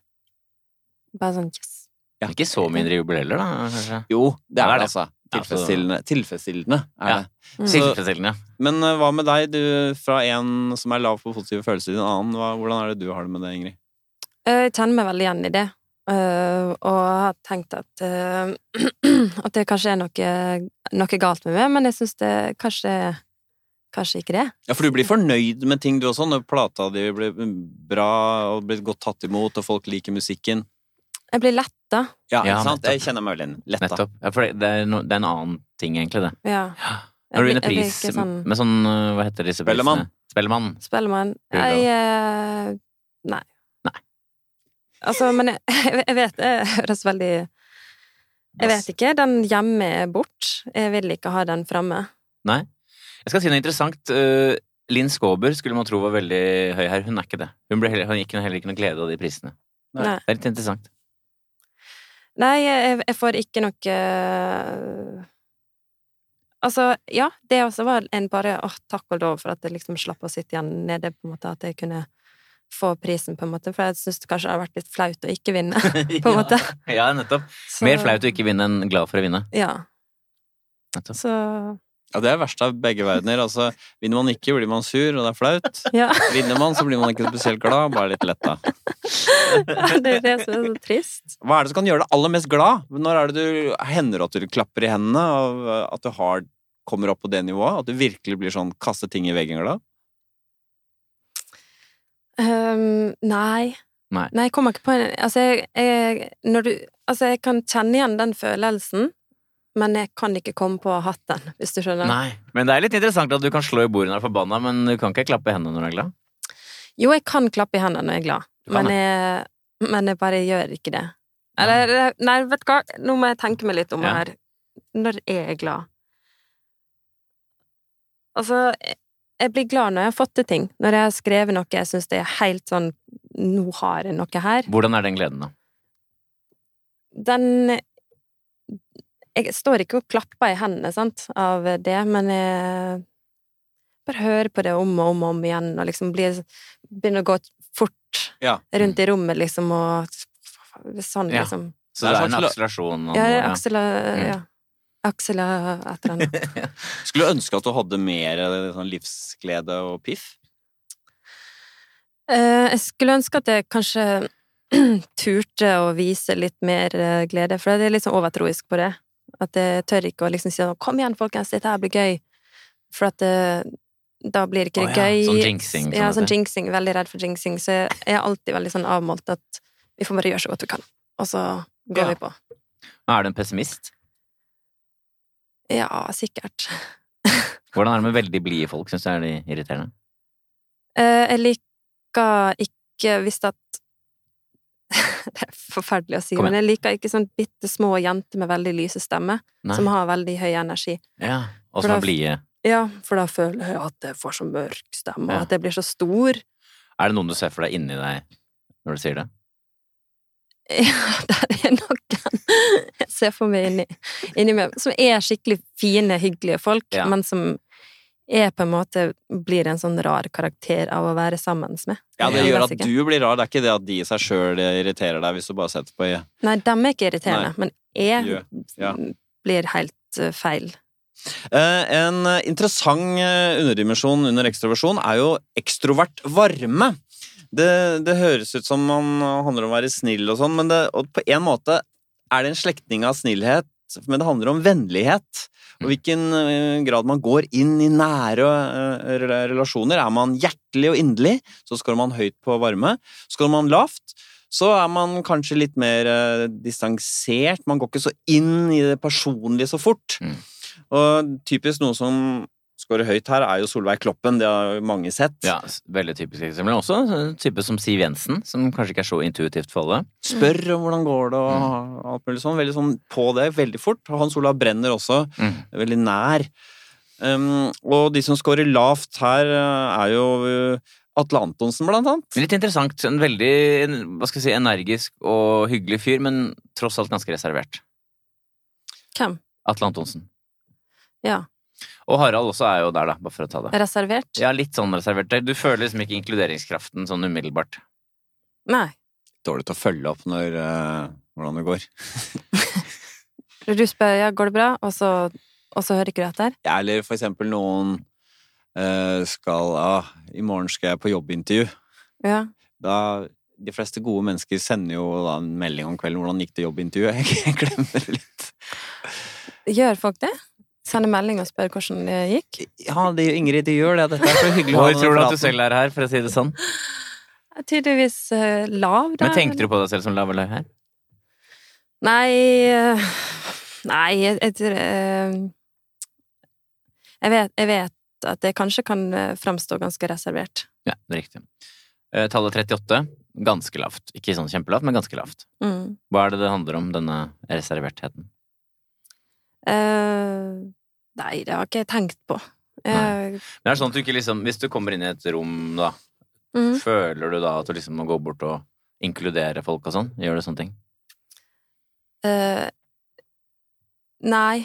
Speaker 4: Bare sånn yes.
Speaker 2: Ja.
Speaker 3: Ikke så mindre jubel heller, da, kanskje?
Speaker 2: Jo, det
Speaker 3: Ja, det
Speaker 2: er
Speaker 3: er
Speaker 2: det, altså.
Speaker 3: Ja, så-
Speaker 2: Tilfredsstillende. Tilfredsstillende er
Speaker 3: Ja.
Speaker 2: det.
Speaker 4: Mm.
Speaker 2: Så-
Speaker 3: Tilfredsstillende.
Speaker 2: Men eh, hva med deg, du fra en som er lav på positive følelser til en annen? Hva, hvordan er det du har det med det, Ingrid?
Speaker 4: Eh, Jeg kjenner meg veldig igjen i det, eh, og har tenkt at eh, [clears throat] At det kanskje er noe, noe galt med meg, men jeg syns det kanskje Kanskje ikke det.
Speaker 2: Ja, for du blir fornøyd med ting du også, når plata di blir mm, bra og blir godt tatt imot, og folk liker musikken.
Speaker 4: Jeg blir letta.
Speaker 2: Ja,
Speaker 3: Ja,
Speaker 2: ikke sant?
Speaker 3: nettopp.
Speaker 2: Jeg kjenner meg vel igjen. Letta.
Speaker 3: Nettopp. Ja, for det, det, er no, det er en annen ting, egentlig, det.
Speaker 4: Ja.
Speaker 3: Når du
Speaker 4: Jeg
Speaker 3: vinner
Speaker 4: blir- jeg
Speaker 3: pris
Speaker 4: blir ikke sånn-
Speaker 3: med sånn øh, Hva heter disse
Speaker 2: Spellemann.
Speaker 3: prisene? Spellemann.
Speaker 4: Spellemann
Speaker 3: Blir du
Speaker 4: Jeg eh, Nei.
Speaker 3: Nei.
Speaker 4: Altså, men jeg, [laughs] jeg vet Det høres veldig Jeg vet ikke. Den hjemme er bort. Jeg vil ikke ha den framme.
Speaker 3: Jeg skal si noe interessant. Eh, Linn Skåber skulle man tro var veldig høy her. Hun er ikke det. Hun, ble heller, hun gikk heller ikke noe glede av de prisene.
Speaker 2: Nei.
Speaker 4: Nei.
Speaker 3: Det er litt interessant.
Speaker 4: Nei, jeg, jeg får ikke noe Altså, ja, det også var en bare åh, takk og lov for at jeg liksom slapp å sitte igjen nede, på en måte, at jeg kunne få prisen, på en måte, for jeg syns det kanskje hadde vært litt flaut å ikke
Speaker 3: [laughs]
Speaker 4: vinne, på en måte.
Speaker 3: Ja, nettopp.
Speaker 4: Så-
Speaker 3: Mer flaut å ikke vinne enn glad for å vinne.
Speaker 4: Ja.
Speaker 3: Nettopp.
Speaker 4: Så
Speaker 2: Ja, det er verst av begge verdener. Altså, vinner man ikke, blir man sur, og det er flaut.
Speaker 4: Ja, [laughs]
Speaker 2: Vinner man, så blir man ikke spesielt glad, bare litt letta.
Speaker 4: det er det som er så trist.
Speaker 2: Hva er det som kan gjøre deg aller mest glad? Når er det du hender at du klapper i hendene, og eh, at du har, kommer opp på det nivået? At du virkelig blir sånn kaste ting i veggen glad?
Speaker 4: Ehm, nei.
Speaker 3: Nei.
Speaker 4: jeg kommer ikke på en Altså, jeg, jeg Når du Altså, jeg kan kjenne igjen den følelsen, men jeg kan ikke komme på å ha hatt den, hvis du skjønner.
Speaker 3: Nei. Men det er litt interessant at du kan slå i bordet når du er forbanna, men du kan ikke klappe i hendene når du er glad.
Speaker 4: Jo, jeg kan klappe i hendene når jeg er glad,
Speaker 3: Du kan
Speaker 4: men jeg, men jeg bare gjør ikke det. Eller, nei, vet du hva, nå må jeg tenke meg litt om
Speaker 3: Ja.
Speaker 4: her. Når er jeg glad? Altså, jeg- jeg blir glad når jeg har fått til ting. Når jeg har skrevet noe jeg syns det er helt sånn Nå har jeg noe her.
Speaker 3: Hvordan er den gleden, da?
Speaker 4: Den Jeg står ikke og klapper i hendene, sant, av det, men jeg bare hører på det om og om og om igjen, og liksom blir, begynner å gå fort
Speaker 2: Ja.
Speaker 4: rundt i rommet, liksom, og sånn,
Speaker 3: Ja.
Speaker 4: liksom.
Speaker 3: Så det er
Speaker 2: en
Speaker 3: en
Speaker 2: slags-
Speaker 3: akselerasjon? og
Speaker 4: Ja,
Speaker 3: noe,
Speaker 4: det er
Speaker 3: ja. Mm.
Speaker 4: Aksel og ja. Aksel og et eller annet.
Speaker 2: Skulle ønske at du hadde mer eh, sånn livsglede og piff.
Speaker 4: Eh, Jeg skulle ønske at jeg kanskje [clears throat] turte å vise litt mer eh, glede, for jeg er litt sånn overtroisk på det. At jeg tør ikke å liksom si sånn 'kom igjen, folkens, dette her blir gøy', for at eh, da blir det ikke
Speaker 2: Å
Speaker 4: det
Speaker 2: ja,
Speaker 4: gøy.
Speaker 3: sånn jinxing, som
Speaker 4: Ja,
Speaker 3: det
Speaker 4: sånn
Speaker 3: heter.
Speaker 4: jinxing. Veldig redd for jinxing, så jeg jeg er alltid veldig sånn avmålt at vi får bare gjøre så godt vi kan, og så går
Speaker 2: Ja.
Speaker 4: vi på.
Speaker 3: Er du en pessimist?
Speaker 4: Ja, sikkert.
Speaker 3: Hvordan er det med veldig blide folk? Syns du er de irriterende?
Speaker 4: Eh, Jeg liker ikke hvis at [laughs] Det er forferdelig å si,
Speaker 3: Kom igjen.
Speaker 4: men jeg liker ikke sånn bitte små jenter med veldig lyse stemmer,
Speaker 3: Nei.
Speaker 4: som har veldig høy energi.
Speaker 3: Ja, og
Speaker 4: For
Speaker 3: som
Speaker 4: da-
Speaker 3: er blide.
Speaker 4: Ja, for da føler jeg at jeg får så mørk stemme, og
Speaker 3: Ja.
Speaker 4: at jeg blir så stor. [laughs]
Speaker 3: Er det noen du ser for deg inni deg når du sier det?
Speaker 4: Ja, der er noen [laughs] jeg ser for meg inni, inni meg, som er skikkelig fine, hyggelige folk,
Speaker 3: Ja.
Speaker 4: men som er på en måte blir en sånn rar karakter av å være sammen med.
Speaker 2: Ja, Det
Speaker 3: Ja.
Speaker 2: gjør at du blir rar. Det er ikke det at de i seg sjøl irriterer deg, hvis du bare setter på i
Speaker 4: Nei, dem er ikke irriterende, men jeg
Speaker 2: Gjør- ja.
Speaker 4: blir helt eh, feil.
Speaker 2: Eh, En eh, interessant eh, underdimensjon under ekstroversjon er jo ekstrovert varme. Det, det høres ut som man handler om å være snill og sånn, men det, og på en måte er det en slektning av snillhet, men det handler om vennlighet. Og hvilken eh, grad man går inn i nære eh, rela- relasjoner. Er man hjertelig og inderlig, så skårer man høyt på varme. Skårer man lavt, så er man kanskje litt mer eh, distansert. Man går ikke så inn i det personlige så fort.
Speaker 3: Mm.
Speaker 2: Og typisk noen som skårer høyt her, er jo Solveig Kloppen. Det har jo mange sett.
Speaker 3: Ja, s- veldig typisk eksempel. Men Også en type som Siv Jensen, som kanskje ikke er så intuitivt for alle.
Speaker 2: Spør om hvordan går det og alt mulig sånn. Veldig sånn på det, veldig fort. Og Hans Olav Brenner også.
Speaker 3: Mm.
Speaker 2: Veldig nær. Um, og de som scorer lavt her, eh, er jo eh, Atle Antonsen, blant annet.
Speaker 3: Litt interessant. En veldig hva skal jeg si, energisk og hyggelig fyr, men tross alt ganske reservert.
Speaker 4: Hvem?
Speaker 3: Atle Antonsen.
Speaker 4: Ja.
Speaker 3: Og Harald også er jo der, da, bare for å ta det.
Speaker 4: Reservert?
Speaker 3: Ja, litt sånn reservert. Du føler liksom ikke inkluderingskraften sånn umiddelbart.
Speaker 4: Nei.
Speaker 2: Dårlig til å følge opp når, eh, hvordan det går.
Speaker 4: Du spør ja, går det bra, og så, og så hører ikke du etter?
Speaker 2: Ja, Eller for eksempel noen eh, skal ah, I morgen skal jeg på jobbintervju.
Speaker 4: Ja.
Speaker 2: Da De fleste gode mennesker sender jo da en melding om kvelden 'Hvordan gikk det jobbintervjuet?' [laughs] Jeg glemmer det litt.
Speaker 4: Gjør folk det? Sender melding og spør hvordan det gikk?
Speaker 2: Ja, det, Ingrid, det gjør det. Dette er så hyggelig. å ha
Speaker 3: Hvor
Speaker 2: denne
Speaker 3: tror du at
Speaker 2: praten.
Speaker 3: du selv er her, for å si det sånn?
Speaker 4: Jeg er tydeligvis eh, lav, da.
Speaker 3: Men tenkte du på deg selv som lav eller høy her?
Speaker 4: Nei eh, Nei, jeg, jeg tror eh, jeg, vet, jeg vet at jeg kanskje kan eh, framstå ganske reservert.
Speaker 3: Ja, det er riktig. Eh, Tallet 38, ganske lavt. Ikke sånn kjempelavt, men ganske lavt.
Speaker 4: Mm.
Speaker 3: Hva er det det handler om, denne reservertheten?
Speaker 4: Eh, nei, det har ikke jeg tenkt på.
Speaker 3: Nei.
Speaker 4: Eh,
Speaker 3: Men er det sånn at du ikke liksom, Hvis du kommer inn i et rom, da,
Speaker 4: mm.
Speaker 3: føler du da at du liksom må gå bort og inkludere folk og sånn? Gjør du sånne ting?
Speaker 4: Eh, nei.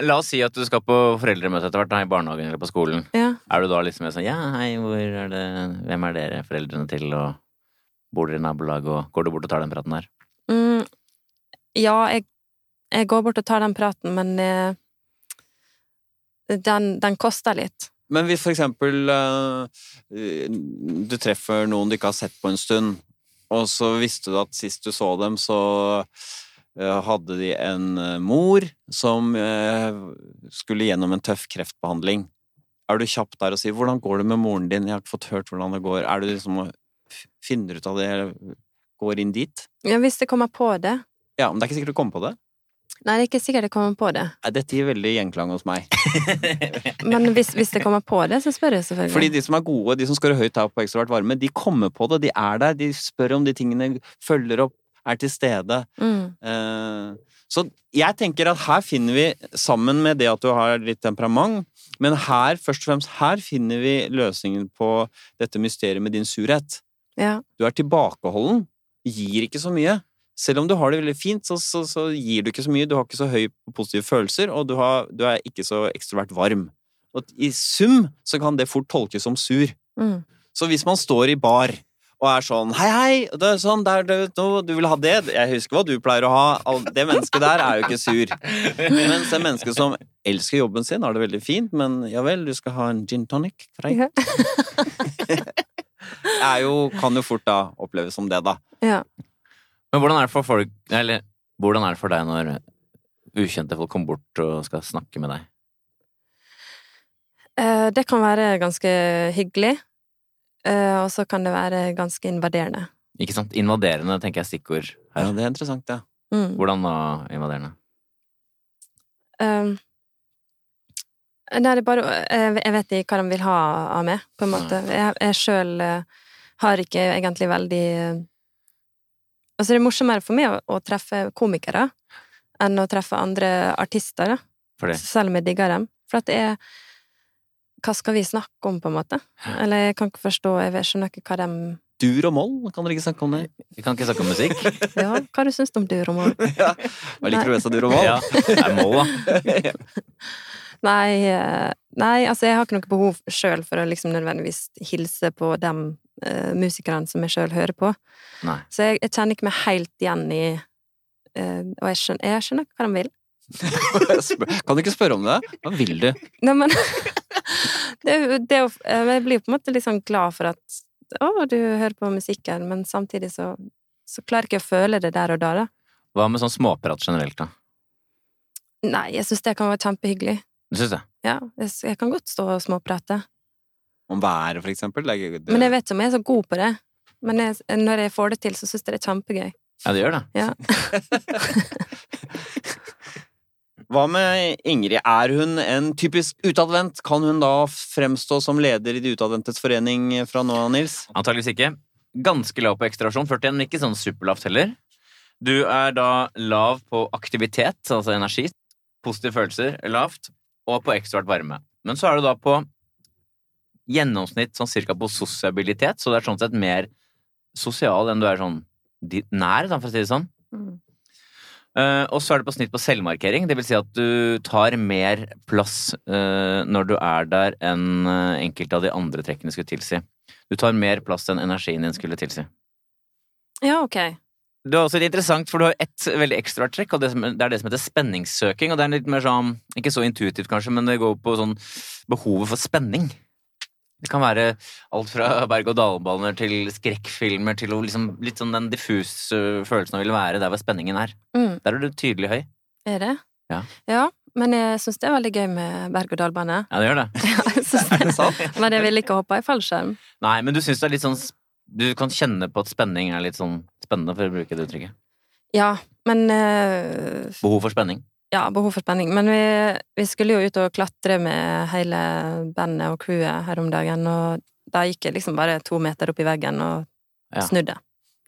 Speaker 3: La oss si at du skal på foreldremøte etter hvert, da, i barnehagen eller på skolen.
Speaker 4: Ja.
Speaker 3: Er du da liksom mer sånn Ja, hei, hvor er det Hvem er dere foreldrene til, og bor dere i nabolag, og går du bort og tar den praten der?
Speaker 4: Mm, ja, jeg, jeg går bort og tar den praten, men eh, den, den koster litt.
Speaker 2: Men hvis for eksempel eh, du treffer noen du ikke har sett på en stund, og så visste du at sist du så dem, så eh, hadde de en eh, mor som eh, skulle gjennom en tøff kreftbehandling. Er du kjapp der og sier 'hvordan går det med moren din', jeg har ikke fått hørt hvordan det går. Er du liksom og f- finner ut av det, eller går inn dit?
Speaker 4: Ja, hvis jeg kommer på det
Speaker 2: Ja, men det er ikke sikkert du kommer på det.
Speaker 4: Nei, det er ikke sikkert jeg kommer på det,
Speaker 2: Nei, Dette gir veldig gjenklang hos meg.
Speaker 4: men hvis, hvis jeg kommer på det, så spør jeg selvfølgelig.
Speaker 2: Fordi de som er gode, de som scorer høyt her på ekstrovert varme, de kommer på det, de er der, de spør om de tingene, følger opp, er til stede.
Speaker 4: mm.
Speaker 2: Eh, Så jeg tenker at her finner vi, sammen med det at du har litt temperament, Men her, først og fremst her finner vi løsningen på dette mysteriet med din surhet.
Speaker 4: Ja.
Speaker 2: Du er tilbakeholden, gir ikke så mye. Selv om du har det veldig fint, så, så, så gir du ikke så mye, du har ikke så høy på positive følelser, og du, har, du er ikke så ekstrovert varm. Og I sum så kan det fort tolkes som sur.
Speaker 4: Mm.
Speaker 2: Så hvis man står i bar og er sånn Hei, hei! Det er sånn, det er, det, er- nå, du vil ha det? Jeg husker hva du pleier å ha. Al- Det mennesket der er jo ikke sur. Mens det mennesket som elsker jobben sin, har det veldig fint, men ja vel, du skal ha en gin tonic. Greit.
Speaker 4: Ja.
Speaker 2: [laughs] Er jo, kan jo fort da oppleves som det, da.
Speaker 3: Men hvordan er det for folk Eller hvordan er det for deg når ukjente folk kommer bort og skal snakke med deg?
Speaker 4: Eh, Det kan være ganske hyggelig, eh, og så kan det være ganske invaderende.
Speaker 3: Ikke sant? Invaderende, tenker jeg er stikkord
Speaker 2: Ja,
Speaker 3: her.
Speaker 2: det er interessant, det.
Speaker 4: Mm.
Speaker 3: Hvordan da invaderende?
Speaker 4: Um, nei, det er bare jeg, jeg vet ikke hva de vil ha av meg, på en måte. Jeg, jeg sjøl har ikke egentlig veldig eh, Altså, det er morsommere for meg å, å treffe komikere enn å treffe andre artister, da.
Speaker 3: Fordi
Speaker 4: Selv om jeg digger dem. For at det er Hva skal vi snakke om, på en måte? Eller jeg kan ikke forstå Jeg vet- skjønner ikke hva de
Speaker 2: Dur og moll, kan dere ikke snakke om det?
Speaker 3: vi kan ikke snakke om musikk.
Speaker 4: Ja, hva du syns du om du, Roman?
Speaker 2: Ja. [laughs] Hva liker du best av dur og moll?
Speaker 3: Ja,
Speaker 2: [laughs]
Speaker 3: det er mål, da.
Speaker 4: Nei, eh, nei, altså jeg har ikke noe behov sjøl for å liksom nødvendigvis hilse på de eh, musikerne som jeg sjøl hører på.
Speaker 3: Nei.
Speaker 4: Så jeg, jeg kjenner ikke meg helt igjen i eh, Og jeg skjønner, jeg skjønner ikke hva de vil.
Speaker 2: Spør- Kan du ikke spørre om det? Hva vil du?
Speaker 4: Nei, men [laughs] det, er jo- det, er jo- eh, men Jeg blir jo på en måte litt sånn glad for at å, du hører på musikken, men samtidig så, så klarer jeg ikke å føle det der og da, da.
Speaker 3: Hva med sånn småprat generelt, da?
Speaker 4: Nei, jeg syns det kan være kjempehyggelig.
Speaker 3: Du syns det?
Speaker 4: Ja, jeg, s- jeg kan godt stå og småprate.
Speaker 2: Om været, for eksempel? Det er ikke-
Speaker 4: Men jeg vet ikke om jeg er så god på det. Men jeg, når jeg får det til, så syns jeg det er kjempegøy.
Speaker 3: Ja, det gjør det.
Speaker 2: Hva med Ingrid? Er hun en typisk utadvendt? Kan hun da fremstå som leder i De utadvendtes forening fra nå av, Nils?
Speaker 3: Antageligvis ikke. Ganske lav på ekstraversjon. 41, men ikke sånn superlavt heller. Du er da lav på aktivitet, altså energi. Positive følelser er lavt. Og på ekstravert varme. Men så er du da på gjennomsnitt sånn cirka på sosiabilitet, så du er sånn sett mer sosial enn du er sånn di- nær, da, for å si det sånn.
Speaker 4: Mm.
Speaker 3: Eh, og så er det på snitt på selvmarkering. Det vil si at du tar mer plass eh, når du er der, enn eh, enkelte av de andre trekkene skulle tilsi. Du tar mer plass enn energien din skulle tilsi.
Speaker 4: Ja, ok.
Speaker 3: Det er også litt interessant, for du har ett veldig ekstravert trekk, og det, som, det er det som heter spenningssøking. Og det er litt mer sånn, ikke så intuitivt kanskje, men det går på sånn behovet for spenning. Det kan være alt fra berg-og-dal-baner til skrekkfilmer til å liksom, litt sånn den diffuse eh, følelsen av å ville være der hvor spenningen er.
Speaker 4: Mm.
Speaker 3: Der er du tydelig høy.
Speaker 4: Er det?
Speaker 3: Ja.
Speaker 4: men jeg syns det er veldig gøy med [laughs] berg-og-dal-bane.
Speaker 3: Ja, det gjør det.
Speaker 4: Jeg synes
Speaker 2: Er det
Speaker 4: det.
Speaker 3: [laughs]
Speaker 2: sant?
Speaker 4: men jeg vil ikke hoppe i fallskjerm.
Speaker 3: Nei, men du syns det er litt sånn Du kan kjenne på at spenning er litt sånn spennende, for å bruke det uttrykket.
Speaker 4: Ja, men eh,
Speaker 3: Behov for spenning.
Speaker 4: Ja, behov for spenning. Men vi, vi skulle jo ut og klatre med hele bandet og crewet her om dagen, og da gikk jeg liksom bare to meter opp i veggen og
Speaker 3: Ja.
Speaker 4: snudde.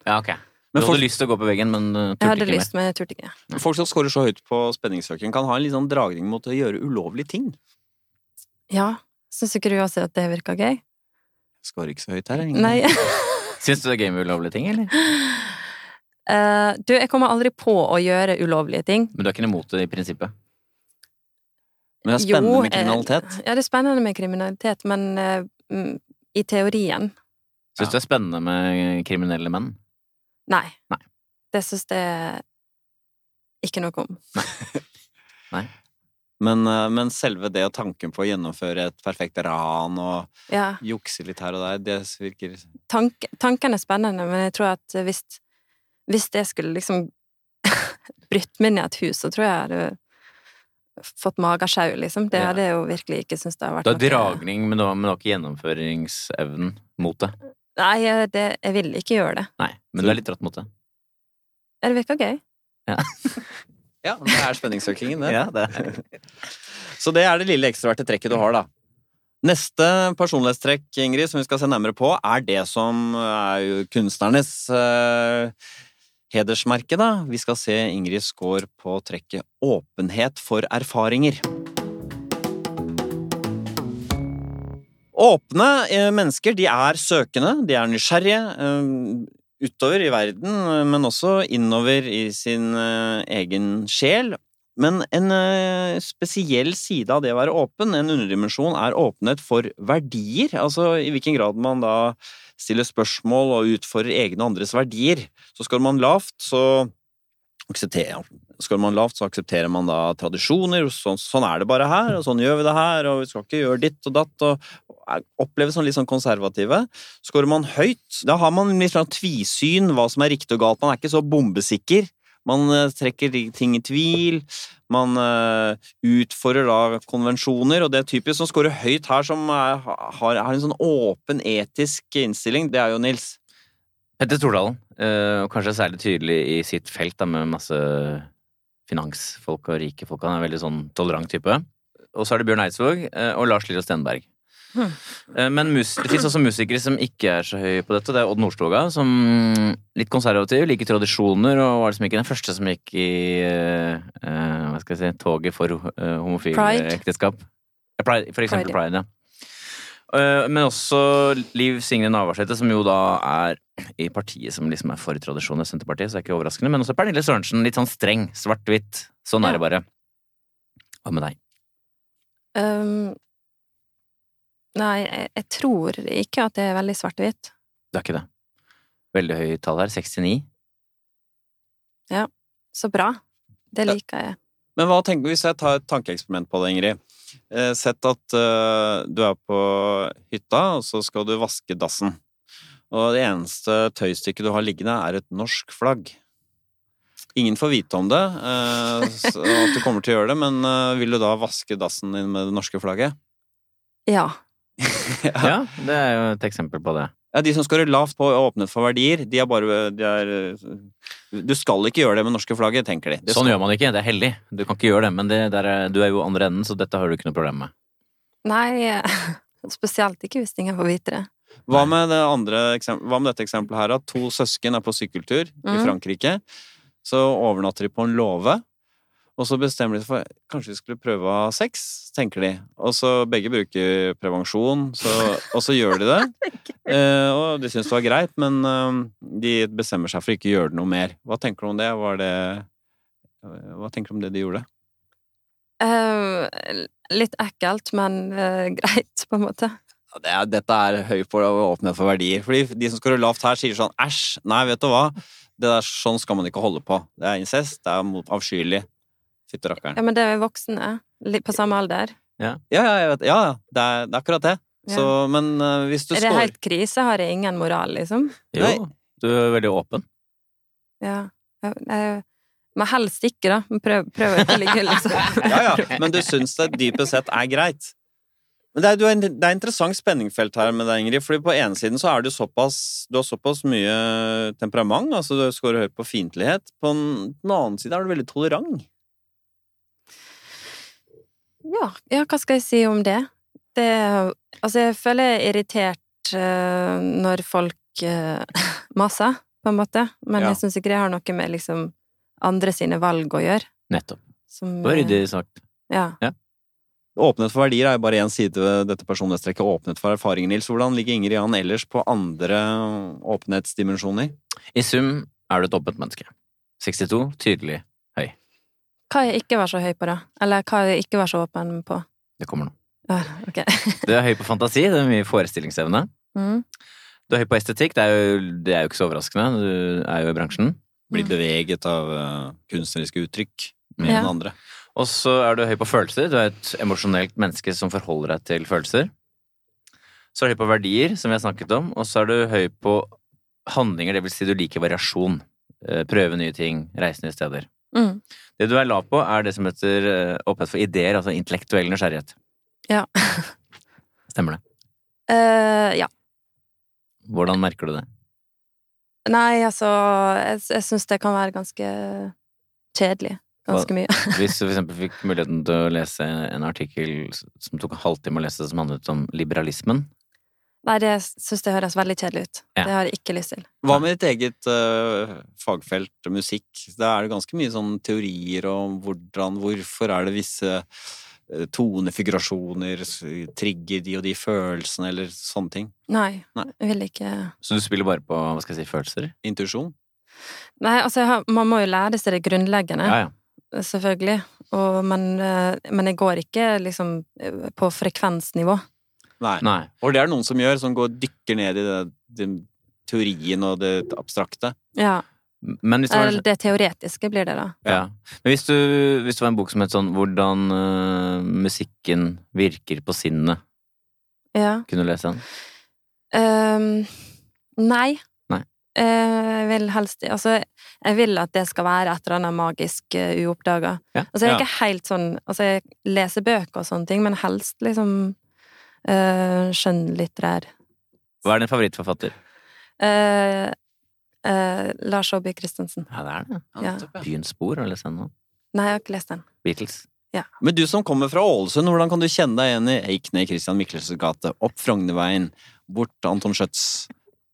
Speaker 3: Ja, ok. Du
Speaker 2: Men
Speaker 3: hadde
Speaker 2: folk,
Speaker 3: lyst til å gå på veggen, men uh,
Speaker 4: Jeg
Speaker 3: turte
Speaker 4: hadde
Speaker 3: ikke mer.
Speaker 4: lyst, men jeg turte ikke.
Speaker 2: folk som scorer så høyt på spenningssøking, kan ha en litt sånn dragning mot å gjøre ulovlige ting.
Speaker 4: Ja. Syns ikke du også at det virker gøy?
Speaker 2: Skårer ikke så høyt her, Ingrid.
Speaker 4: Nei.
Speaker 3: Syns du det er gøy med ulovlige ting, eller?
Speaker 4: Eh, du, jeg kommer aldri på å gjøre ulovlige ting.
Speaker 3: Men du er ikke imot det i prinsippet?
Speaker 2: Men det er spennende
Speaker 4: [laughs] Jo, eh,
Speaker 2: med kriminalitet.
Speaker 4: Ja, det er spennende med kriminalitet, men eh, mm, i teorien
Speaker 3: Syns du det er spennende med eh, kriminelle menn?
Speaker 4: nei.
Speaker 3: Nei.
Speaker 4: Det syns jeg ikke noe om.
Speaker 2: Men, eh, men selve det og tanken på å gjennomføre et perfekt ran og
Speaker 4: Ja,
Speaker 2: jukse litt her og der, det virker
Speaker 4: tank, Tanken er spennende, men jeg tror at hvis, hvis det skulle liksom [laughs] brytt meg ned i et hus, så tror jeg jeg hadde fått magesjau, liksom. Det
Speaker 3: Ja.
Speaker 4: hadde jeg jo virkelig ikke syntes det hadde
Speaker 3: Du har
Speaker 4: vært
Speaker 3: dragning, men du har, men du har ikke gjennomføringsevnen mot det.
Speaker 4: Nei, jeg- det, jeg vil ikke gjøre det.
Speaker 3: Nei, men du er litt rått mot det.
Speaker 4: Det virker gøy.
Speaker 2: Ja, det er spenningssøkingen, det.
Speaker 3: Ja, det [laughs] er.
Speaker 2: Så det er det lille ekstraverte trekket du har, da. Neste personlighetstrekk, Ingrid, som vi skal se nærmere på, er det som er jo kunstnernes eh, hedersmerke, da. Vi skal se Ingrid score på trekket åpenhet for erfaringer. Åpne eh, mennesker de er søkende, de er nysgjerrige eh, utover i verden, eh, men også innover i sin eh, egen sjel. Men en eh, spesiell side av det å være åpen, en underdimensjon, er åpenhet for verdier. Altså i hvilken grad man da stiller spørsmål og utfordrer egne og andres verdier. Så skal man lavt, så aksepterer skal man lavt, så aksepterer man da tradisjoner. og Sånn, sånn er det bare her, og sånn gjør vi det her, og vi skal ikke gjøre ditt og datt. og er- Oppleves som litt sånn konservative. Skårer man høyt, da har man litt sånn tvisyn hva som er riktig og galt. Man er ikke så bombesikker. Man eh, trekker de ting i tvil. Man eh, utfordrer da konvensjoner, og det er typisk som scorer høyt her, som er, har, har en sånn åpen etisk innstilling, det er jo Nils.
Speaker 3: Petter Stordalen, eh, og kanskje særlig tydelig i sitt felt da, med masse finansfolk og rike folk. Han er en veldig sånn tolerant type. Og så er det Bjørn Eidsvåg eh, og Lars Lillo Stenberg.
Speaker 4: Hmm.
Speaker 3: Eh, Men mus det fins også musikere som ikke er så høye på dette. Det er Odd Nordstoga, som litt konservativ, liker tradisjoner, og var liksom ikke den første som gikk i eh, eh, hva skal jeg si, toget for eh, homofile
Speaker 4: Pride.
Speaker 3: ekteskap. Ja, Pride, for eksempel Pride, ja. Eh, Men også Liv Signe Navarsete, som jo da er i partiet som liksom er for tradisjoner, Senterpartiet, så det er ikke overraskende. Men også Pernille Sørensen, litt sånn streng, svart-hvitt. Sånn er det bare. Hva med deg?
Speaker 4: Um, nei, jeg, jeg tror ikke at det er veldig svart-hvitt.
Speaker 3: Det er ikke det. Veldig høye tall her. 69.
Speaker 4: Så bra. Det liker jeg.
Speaker 2: Men hva tenker hvis jeg tar et tankeeksperiment på det, Ingrid? Eh, Sett at eh, du er på hytta, og så skal du vaske dassen. Og det eneste tøystykket du har liggende, er et norsk flagg. Ingen får vite om det, eh, så- og at du kommer til å gjøre det, men eh, vil du da vaske dassen din med det norske flagget?
Speaker 4: Ja.
Speaker 3: Ja, det er jo et eksempel på det.
Speaker 2: Ja, De som scorer lavt på åpnet for verdier, de er bare de er, eh, Du skal ikke gjøre det med norske flagget, tenker de. Det
Speaker 3: Sånn gjør man det ikke. Det er heldig. Du kan ikke gjøre det, men det der er, du er jo andre enden, så dette har du ikke noe problem med.
Speaker 4: Nei, [laughs] spesielt ikke hvis ingen får vite det.
Speaker 2: Hva med, det andre, eksem- hva med dette eksempelet her? At to søsken er på sykkeltur i
Speaker 4: Mhm.
Speaker 2: Frankrike. Så overnatter de på en låve. Og så bestemmer de seg for kanskje vi skulle prøve å ha sex, tenker de. Og så begge bruker prevensjon, så, og så gjør de det.
Speaker 4: [laughs]
Speaker 2: Eh, og de syns det var greit, men eh, de bestemmer seg for ikke å gjøre det noe mer. Hva tenker du om det? Var det eh, hva tenker du om det de gjorde?
Speaker 4: Eh, litt ekkelt, men eh, greit, på en måte.
Speaker 2: Ja, det er, dette er høy på å åpne for verdier. Fordi de som scorer lavt her, sier sånn æsj, nei, vet du hva. Det der, sånn skal man ikke holde på. Det er incest, det er mot- avskyelig. Fytte rakkeren.
Speaker 4: Ja, men det er voksne. Litt på samme alder.
Speaker 2: Ja, ja, jeg vet, ja, ja, det er, det er akkurat det.
Speaker 4: Ja.
Speaker 2: Så, men eh, hvis du
Speaker 4: Er det
Speaker 2: scorer
Speaker 4: helt krise? Har jeg ingen moral, liksom?
Speaker 3: Jo,
Speaker 2: Nei.
Speaker 3: du er veldig åpen.
Speaker 4: Ja. Jeg, jeg, men helst ikke, da. Men Prøv, prøv å ikke ligge, liksom.
Speaker 2: Ja, ja, men du syns det dypest sett er greit. Men det er, du er, det er interessant spenningfelt her med deg, Ingrid. fordi på ene siden så er du såpass Du har såpass mye temperament, altså du scorer høyt på fiendtlighet. På den, den annen side er du veldig tolerant.
Speaker 4: Ja, ja, hva skal jeg si om det? det altså, jeg føler jeg er irritert eh, når folk eh, [laughs] maser, på en måte. Men
Speaker 2: Ja.
Speaker 4: jeg syns ikke det har noe med liksom andre sine valg å gjøre.
Speaker 3: Nettopp.
Speaker 4: Som,
Speaker 3: Det var
Speaker 4: eh,
Speaker 3: ryddig sagt.
Speaker 4: Ja.
Speaker 2: Åpnet for verdier er jo bare én side ved dette personlighetstrekket. Åpnet for erfaringer, Nils. Hvordan ligger Ingrid Jan ellers på andre åpenhetsdimensjoner?
Speaker 3: I sum er du et åpent menneske. 62. Tydelig.
Speaker 4: Hva jeg ikke var så høy på, da? Eller hva jeg ikke var så åpen på?
Speaker 3: Det kommer nå.
Speaker 4: Ja, ok.
Speaker 3: Du er høy på fantasi. Det er mye forestillingsevne.
Speaker 4: [laughs] Mm.
Speaker 3: Du er høy på estetikk. Det er jo, det er jo ikke så overraskende. Du er jo i bransjen.
Speaker 2: Blir beveget av eh, kunstneriske uttrykk
Speaker 3: Mm.
Speaker 2: med
Speaker 4: Mm. Ja.
Speaker 2: den andre.
Speaker 3: Og så er du høy på følelser. Du er et emosjonelt menneske som forholder deg til følelser. Så er du høy på verdier, som vi har snakket om. Og så er du høy på handlinger, det vil si du liker variasjon. Eh, Prøve nye ting, reise nye steder.
Speaker 4: Mm.
Speaker 3: Det du er lav på, er det som heter eh, åpenhet for ideer, altså intellektuell nysgjerrighet.
Speaker 4: Ja.
Speaker 3: [laughs] Stemmer det.
Speaker 4: Eh, ja.
Speaker 3: Hvordan merker du det?
Speaker 4: Nei, altså Jeg, jeg syns det kan være ganske kjedelig. Ganske mye. [laughs]
Speaker 3: Hvis du for eksempel fikk muligheten til å lese en artikkel som tok en halvtime å lese, som handlet om liberalismen.
Speaker 4: Nei, det syns det høres veldig kjedelig ut.
Speaker 3: Ja.
Speaker 4: Det har jeg ikke lyst til.
Speaker 2: Hva med ditt eget eh, fagfelt musikk? Da er det ganske mye sånn teorier om hvordan, hvorfor er det visse eh, tonefigurasjoner, s- trigger de og de følelsene, eller sånne ting.
Speaker 4: Nei,
Speaker 2: Nei.
Speaker 4: jeg vil ikke
Speaker 3: Så du spiller bare på hva skal jeg si, følelser?
Speaker 2: Intuisjon.
Speaker 4: Nei, altså, jeg har, man må jo lære seg det grunnleggende.
Speaker 3: Ja, ja.
Speaker 4: selvfølgelig. Og, men, eh, men jeg går ikke liksom eh, på frekvensnivå.
Speaker 2: Nei.
Speaker 3: Nei.
Speaker 2: Og det er det noen som gjør, som går dykker ned i det, den teorien og det abstrakte.
Speaker 4: Ja,
Speaker 3: Men hvis det var liksom
Speaker 4: eller det teoretiske blir det, da.
Speaker 3: Ja. Men hvis du, hvis det var en bok som het sånn 'Hvordan øh, musikken virker på sinnet',
Speaker 4: Ja.
Speaker 3: kunne du lese den?
Speaker 4: Ehm, nei.
Speaker 3: Nei.
Speaker 4: Eh, jeg vil helst Altså, jeg vil at det skal være et eller annet magisk uh, uoppdaga.
Speaker 3: Ja.
Speaker 4: Altså, jeg er
Speaker 2: Ja.
Speaker 4: ikke helt sånn Altså, jeg leser bøker og sånne ting, men helst liksom uh, skjønnlitterær.
Speaker 3: Hva er din favorittforfatter?
Speaker 4: Eh, eh, Lars Aabye Christensen.
Speaker 3: Ja, det er det.
Speaker 4: Ja.
Speaker 2: nettopp, ja.
Speaker 3: Byens spor, har du lest den nå?
Speaker 4: Nei, jeg har ikke lest den.
Speaker 3: Beatles.
Speaker 2: Men du som kommer fra Ålesund, hvordan kan du kjenne deg igjen i Eik ned Christian Michelsens gate, opp Frognerveien, bort til Anton Schjøtz?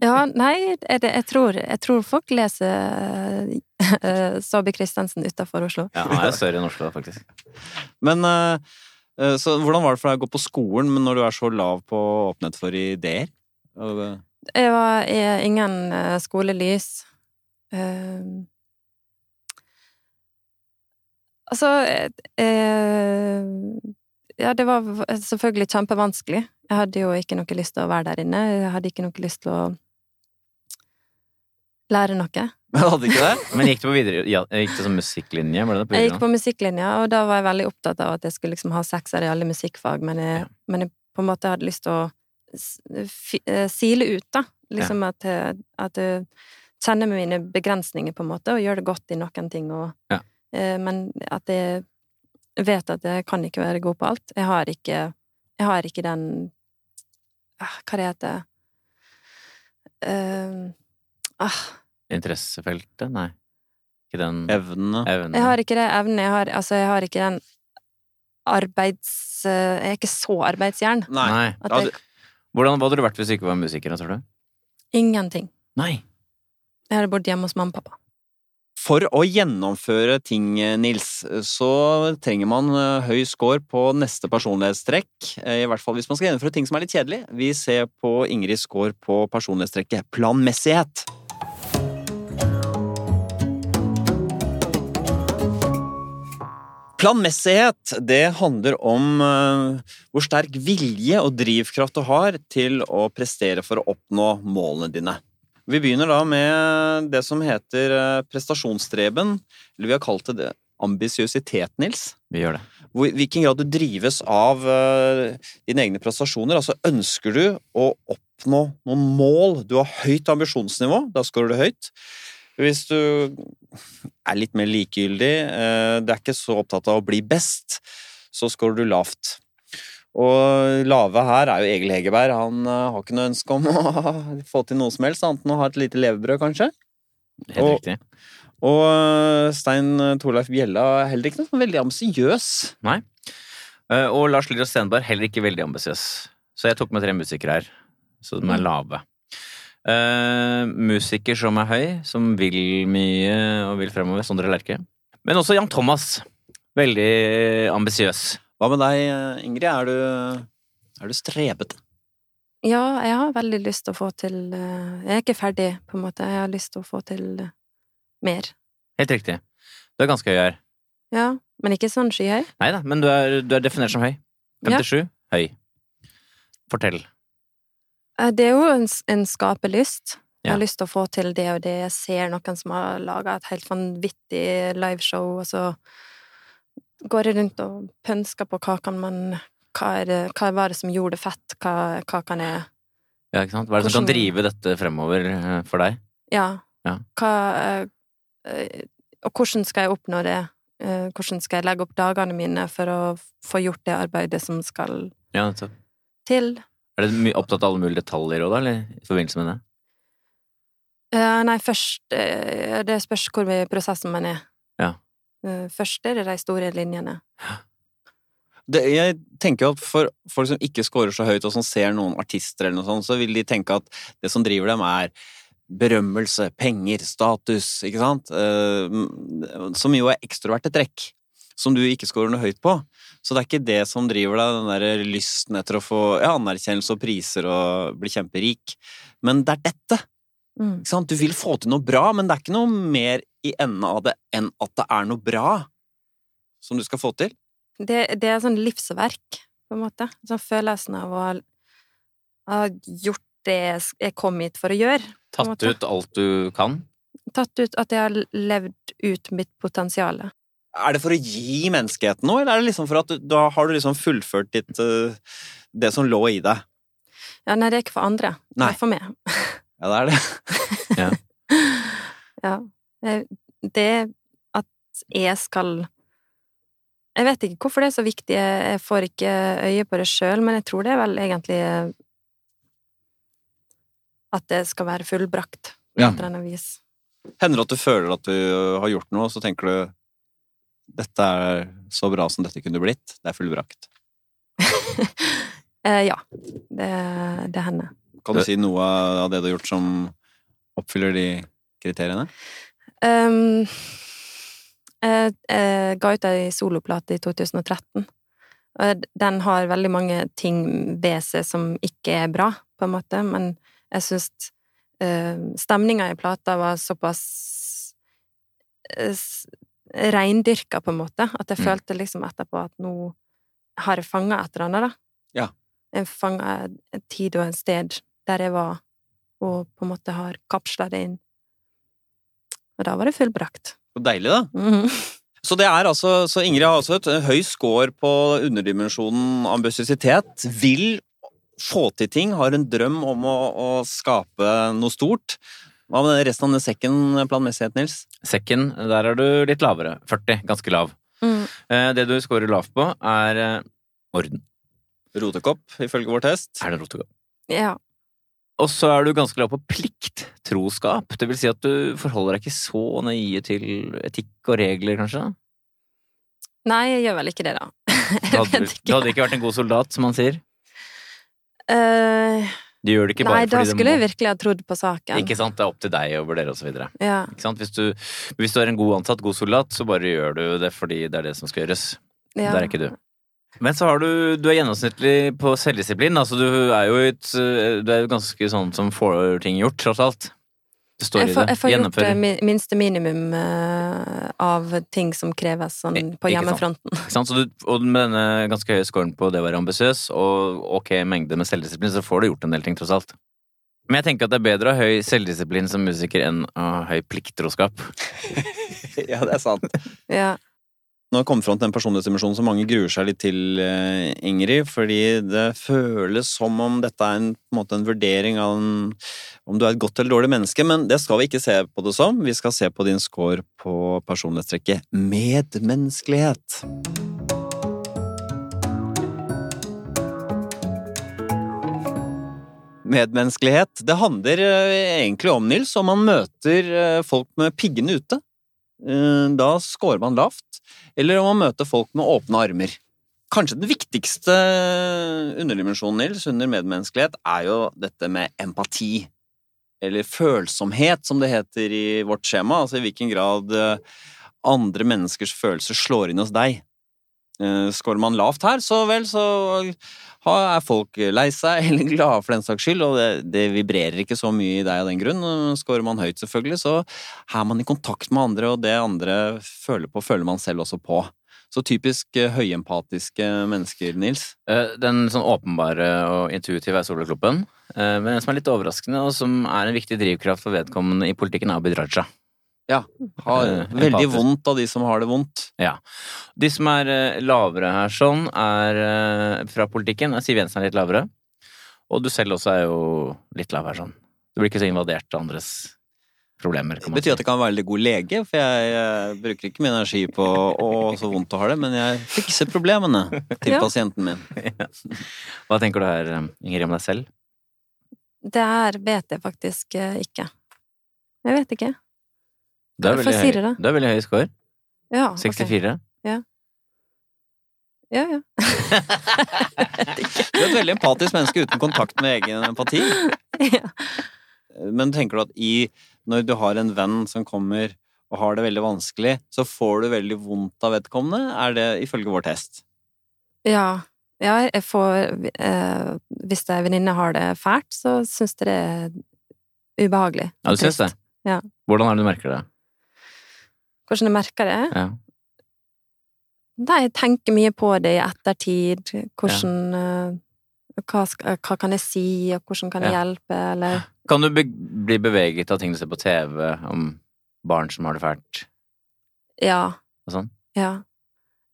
Speaker 4: Ja, nei, er det, jeg, tror, jeg tror folk leser uh, Saabye Christensen utafor Oslo. [laughs]
Speaker 3: Ja, han er jo større enn Oslo, faktisk.
Speaker 2: Men eh, eh, så hvordan var det for deg å gå på skolen, men når du er så lav på åpenhet for ideer? Og, eh, [laughs]
Speaker 4: Jeg var i ingen eh, skolelys. Eh, altså eh, Ja, det var v- selvfølgelig kjempevanskelig. Jeg hadde jo ikke noe lyst til å være der inne. Jeg hadde ikke noe lyst til å lære noe.
Speaker 2: Men hadde ikke det?
Speaker 3: Men gikk du på videre, ja, gikk det som musikklinje? Var det det på
Speaker 4: Jeg gikk
Speaker 3: videregående?
Speaker 4: på musikklinja, og da var jeg veldig opptatt av at jeg skulle liksom ha sekser i alle musikkfag, men jeg,
Speaker 3: Ja.
Speaker 4: men jeg på en måte hadde lyst til å s- fi- eh, sile ut, da. Liksom at, eh, at jeg kjenner med mine begrensninger, på en måte, og gjør det godt i noen ting, og
Speaker 3: Ja.
Speaker 4: eh, Men at jeg vet at jeg kan ikke være god på alt. Jeg har ikke Jeg har ikke den ah, Hva det heter Eh, ah,
Speaker 3: Interessefeltet? Nei. Ikke den
Speaker 2: Evnene.
Speaker 3: evnen?
Speaker 4: jeg har ikke det evnen. Jeg har, altså, jeg har ikke den arbeids... eh, Jeg er ikke så arbeidsjern.
Speaker 2: Nei.
Speaker 3: Nei.
Speaker 4: At
Speaker 2: Ja,
Speaker 4: jeg,
Speaker 3: Hvordan, hva hadde du vært hvis du ikke var musiker, da, tror du?
Speaker 4: ingenting.
Speaker 3: Nei.
Speaker 4: Jeg hadde bodd hjemme hos mamma og pappa.
Speaker 2: For å gjennomføre ting, eh, Nils, så trenger man eh, høy score på neste personlighetstrekk. eh, I hvert fall hvis man skal gjennomføre ting som er litt kjedelig. Vi ser på Ingrids score på personlighetstrekket planmessighet. Planmessighet, det handler om eh, hvor sterk vilje og drivkraft du har til å prestere for å oppnå målene dine. Vi begynner da med det som heter eh, prestasjonsstreben, eller vi har kalt det det ambisiøsitet, Nils.
Speaker 3: Vi gjør det.
Speaker 2: Hvor- i Hvilken grad du drives av eh, dine egne prestasjoner. Altså ønsker du å oppnå noen mål. Du har høyt ambisjonsnivå, da scorer du høyt. Hvis du er litt mer likegyldig, eh, du er ikke så opptatt av å bli best, så scorer du lavt. Og lave her er jo Egil Hegerberg. Han eh, har ikke noe ønske om [laughs] å få til noe som helst, annet enn å ha et lite levebrød, kanskje.
Speaker 3: Helt
Speaker 2: Og-
Speaker 3: riktig.
Speaker 2: Og eh, Stein Torleif Bjella er heller ikke noe sånn veldig ambisiøs.
Speaker 3: Eh, Og Lars Lillo Stenberg, heller ikke veldig ambisiøs. Så jeg tok med tre musikere her, så de er lave. Eh, musiker som er høy, som vil mye og vil fremover. Sondre Lerche. Men også Jan Thomas. Veldig ambisiøs.
Speaker 2: Hva med deg, eh, Ingrid? Er du, er du strebete?
Speaker 4: Ja, jeg har veldig lyst til å få til eh, Jeg er ikke ferdig, på en måte. Jeg har lyst til å få til eh, mer.
Speaker 3: Helt riktig. Du er ganske høy her.
Speaker 4: Ja, men ikke sånn skyhøy.
Speaker 3: Nei da, men du er, du er definert som høy. 57. Høy. Fortell.
Speaker 4: Eh, Det er jo en, s- en skapelyst. Jeg har
Speaker 3: Ja.
Speaker 4: lyst til å få til det og det. Jeg ser noen som har laga et helt vanvittig liveshow, og så går jeg rundt og pønsker på hva kan man Hva, er det, hva var det som gjorde det fett? Hva, hva kan jeg
Speaker 3: Ja, ikke sant? Hva er det som kan
Speaker 4: Hvordan-
Speaker 3: drive dette fremover eh, for deg?
Speaker 4: Ja.
Speaker 3: Ja.
Speaker 4: Hva eh, eh, Og hvordan skal jeg oppnå det? Eh, Hvordan skal jeg legge opp dagene mine for å få gjort det arbeidet som skal
Speaker 3: Ja, nettopp.
Speaker 4: til?
Speaker 3: Er du my- opptatt av alle mulige detaljer òg, da? Eller i forbindelse med det?
Speaker 4: Eh, nei, først eh, Det spørs hvor i prosessen man er.
Speaker 3: Ja.
Speaker 4: Eh, først er det de store linjene.
Speaker 2: Det, jeg tenker jo at for folk som ikke scorer så høyt, og som ser noen artister, eller noe sånt, så vil de tenke at det som driver dem, er berømmelse, penger, status, ikke sant? Eh, Som jo er ekstroverte trekk. som du ikke scorer noe høyt på. Så det er ikke det som driver deg, den der lysten etter å få ja, anerkjennelse og priser og bli kjemperik. Men det er dette.
Speaker 4: Mm.
Speaker 2: Ikke sant? Du vil få til noe bra, men det er ikke noe mer i enden av det enn at det er noe bra som du skal få til.
Speaker 4: Det, det er sånn livsverk, på en måte. Sånn følelsen av å ha ha gjort det jeg s- jeg kom hit for å gjøre. på en
Speaker 3: Tatt
Speaker 4: måte.
Speaker 3: ut alt du kan.
Speaker 4: Tatt ut at jeg har levd ut mitt potensial.
Speaker 2: Er det for å gi menneskeheten noe, eller er det liksom for at du, da har du liksom fullført ditt, eh, det som lå i deg?
Speaker 4: Ja, nei, det er ikke for andre.
Speaker 2: Nei.
Speaker 4: Det er for meg.
Speaker 2: Ja, det [laughs] er det.
Speaker 4: ja. Eh, Det at jeg skal Jeg vet ikke hvorfor det er så viktig, jeg jeg får ikke øye på det sjøl, men jeg tror det er vel egentlig eh, at det skal være fullbrakt, på
Speaker 2: Ja.
Speaker 4: et eller annet vis.
Speaker 2: Hender det at du føler at du har gjort noe, og så tenker du dette er så bra som dette kunne blitt. Det er fullbrakt.
Speaker 4: Eh, ja. Det, det hender.
Speaker 2: Kan du si noe av det du har gjort som oppfyller de kriteriene?
Speaker 4: Um, jeg, jeg ga ut ei soloplate i 2013. Og d- Den har veldig mange ting ved seg som ikke er bra, på en måte, men jeg syns uh, stemninga i plata var såpass eh, s- reindyrka, på en måte, at jeg
Speaker 3: Mm.
Speaker 4: følte liksom etterpå at nå har jeg fanga et eller annet, da.
Speaker 2: Ja.
Speaker 4: Jeg fanga en tid og en sted der jeg var, og på en måte har kapsla det inn. Og da var det fullbrakt.
Speaker 2: Så deilig, da.
Speaker 4: Mhm.
Speaker 2: Så det er altså, så Ingrid har også et høy score på underdimensjonen ambisiøsitet. Vil få til ting, har en drøm om å, å skape noe stort. Hva med resten av den sekken planmessighet, E Nils?
Speaker 3: Sekken, der er du litt lavere. 40, ganske lav.
Speaker 4: Mm.
Speaker 3: Eh, Det du scorer lavt på, er eh, orden.
Speaker 2: Rotekopp, ifølge vår test.
Speaker 3: Er det rotegang?
Speaker 4: Ja.
Speaker 3: Og så er du ganske glad på plikt, troskap. Det vil si at du forholder deg ikke så nøye til etikk og regler, kanskje.
Speaker 4: [laughs] Nei, jeg gjør vel ikke det, da.
Speaker 3: Du
Speaker 4: Jeg
Speaker 3: hadde,
Speaker 4: vet
Speaker 3: du
Speaker 4: ikke.
Speaker 3: hadde ikke vært en god soldat, som han sier.
Speaker 4: Eh,
Speaker 3: Du gjør det ikke bare
Speaker 4: nei, da
Speaker 3: fordi
Speaker 4: skulle jeg
Speaker 3: det
Speaker 4: virkelig ha trodd på saken.
Speaker 3: Ikke sant, det er opp til deg å vurdere og så videre.
Speaker 4: Ja.
Speaker 3: Ikke sant? Hvis, du, hvis du er en god ansatt, god soldat, så bare gjør du det fordi det er det som skal gjøres.
Speaker 4: Ja.
Speaker 3: Der er ikke du. Men så har du, du er gjennomsnittlig på selvdisiplin. Altså, du er jo et, øh, du er jo ganske sånn som får ting gjort, tross alt. Det står
Speaker 4: Jeg får,
Speaker 3: i det.
Speaker 4: jeg får gjort eh,
Speaker 3: Gjennomfører.
Speaker 4: mi- minste minimum eh, av ting som kreves sånn på
Speaker 3: Ikke
Speaker 4: hjemmefronten.
Speaker 3: Ikke sant? Så du, og med denne ganske høye scoren på det å være ambisiøs og ok mengde med selvdisiplin, så får du gjort en del ting, tross alt. Men jeg tenker at det er bedre å ha høy selvdisiplin som musiker enn å ha høy plikttroskap.
Speaker 2: [laughs] ja, det er sant.
Speaker 4: Ja.
Speaker 2: Nå har vi kommet fram til den personlighetsdimensjonen som mange gruer seg litt til, eh, Ingrid, fordi det føles som om dette er en, på en, måte en vurdering av en, om du er et godt eller dårlig menneske, men det skal vi ikke se på det som. Vi skal se på din score på personlighetstrekket medmenneskelighet. Medmenneskelighet, det handler eh, egentlig om, Nils, om man møter eh, folk med piggene ute. Eh, Da scorer man lavt eller om å møte folk med åpne armer. Kanskje den viktigste underdimensjonen Nils, under medmenneskelighet er jo dette med empati. Eller følsomhet, som det heter i vårt skjema. Altså i hvilken grad eh, andre menneskers følelser slår inn hos deg. Eh, Skårer man lavt her, så vel, så har- er folk eh, lei seg [laughs] eller glade for den saks skyld, og det, det vibrerer ikke så mye i deg av den grunn. Eh, Skårer man høyt, selvfølgelig, så er man i kontakt med andre, og det andre føler på, føler man selv også på. Så typisk eh, høyempatiske mennesker, Nils.
Speaker 3: Eh, Den sånn åpenbare og intuitive er Soloklumpen. Eh, Men en som er litt overraskende, og som er en viktig drivkraft for vedkommende i politikken, er Abid Raja.
Speaker 2: Har
Speaker 3: Eh,
Speaker 2: veldig
Speaker 3: empatisk.
Speaker 2: vondt av de som har det vondt.
Speaker 3: De som er eh, lavere her sånn, er eh, fra politikken. er Siv Jensen er litt lavere. Og du selv også er jo litt lav her sånn. Du blir ikke så invadert av andres problemer.
Speaker 2: Det
Speaker 3: kan man
Speaker 2: betyr
Speaker 3: si.
Speaker 2: at jeg kan være veldig god lege, for jeg, eh, bruker ikke min energi på å så vondt å ha det, men jeg fikser problemene til
Speaker 4: Ja.
Speaker 2: pasienten min.
Speaker 3: Hva tenker du her, eh, Ingrid, om deg selv?
Speaker 4: Det her vet jeg faktisk eh, ikke. Jeg vet ikke.
Speaker 3: Du
Speaker 4: Få si det, da.
Speaker 3: du er veldig høy score.
Speaker 4: Ja, ok.
Speaker 3: 64.
Speaker 4: Ja, ja.
Speaker 2: Du er et veldig empatisk menneske uten kontakt med egen empati.
Speaker 4: ja.
Speaker 2: Men tenker du at i, når du har en venn som kommer og har det veldig vanskelig, så får du veldig vondt av vedkommende, er det ifølge vår test.
Speaker 4: Ja. ja jeg får eh, Hvis ei venninne har det fælt, så syns jeg det er ubehagelig.
Speaker 3: Ja, du syns det?
Speaker 4: Ja.
Speaker 3: Hvordan er det du merker det?
Speaker 4: Hvordan jeg merker det?
Speaker 3: Ja.
Speaker 4: Nei, jeg tenker mye på det i ettertid. Hvordan eh, hva, sk- hva kan jeg si, og hvordan kan jeg
Speaker 3: Ja.
Speaker 4: hjelpe, eller
Speaker 3: Kan du be bli beveget av ting du ser på TV om barn som har det fælt?
Speaker 4: Ja.
Speaker 3: Og sånn?
Speaker 4: ja.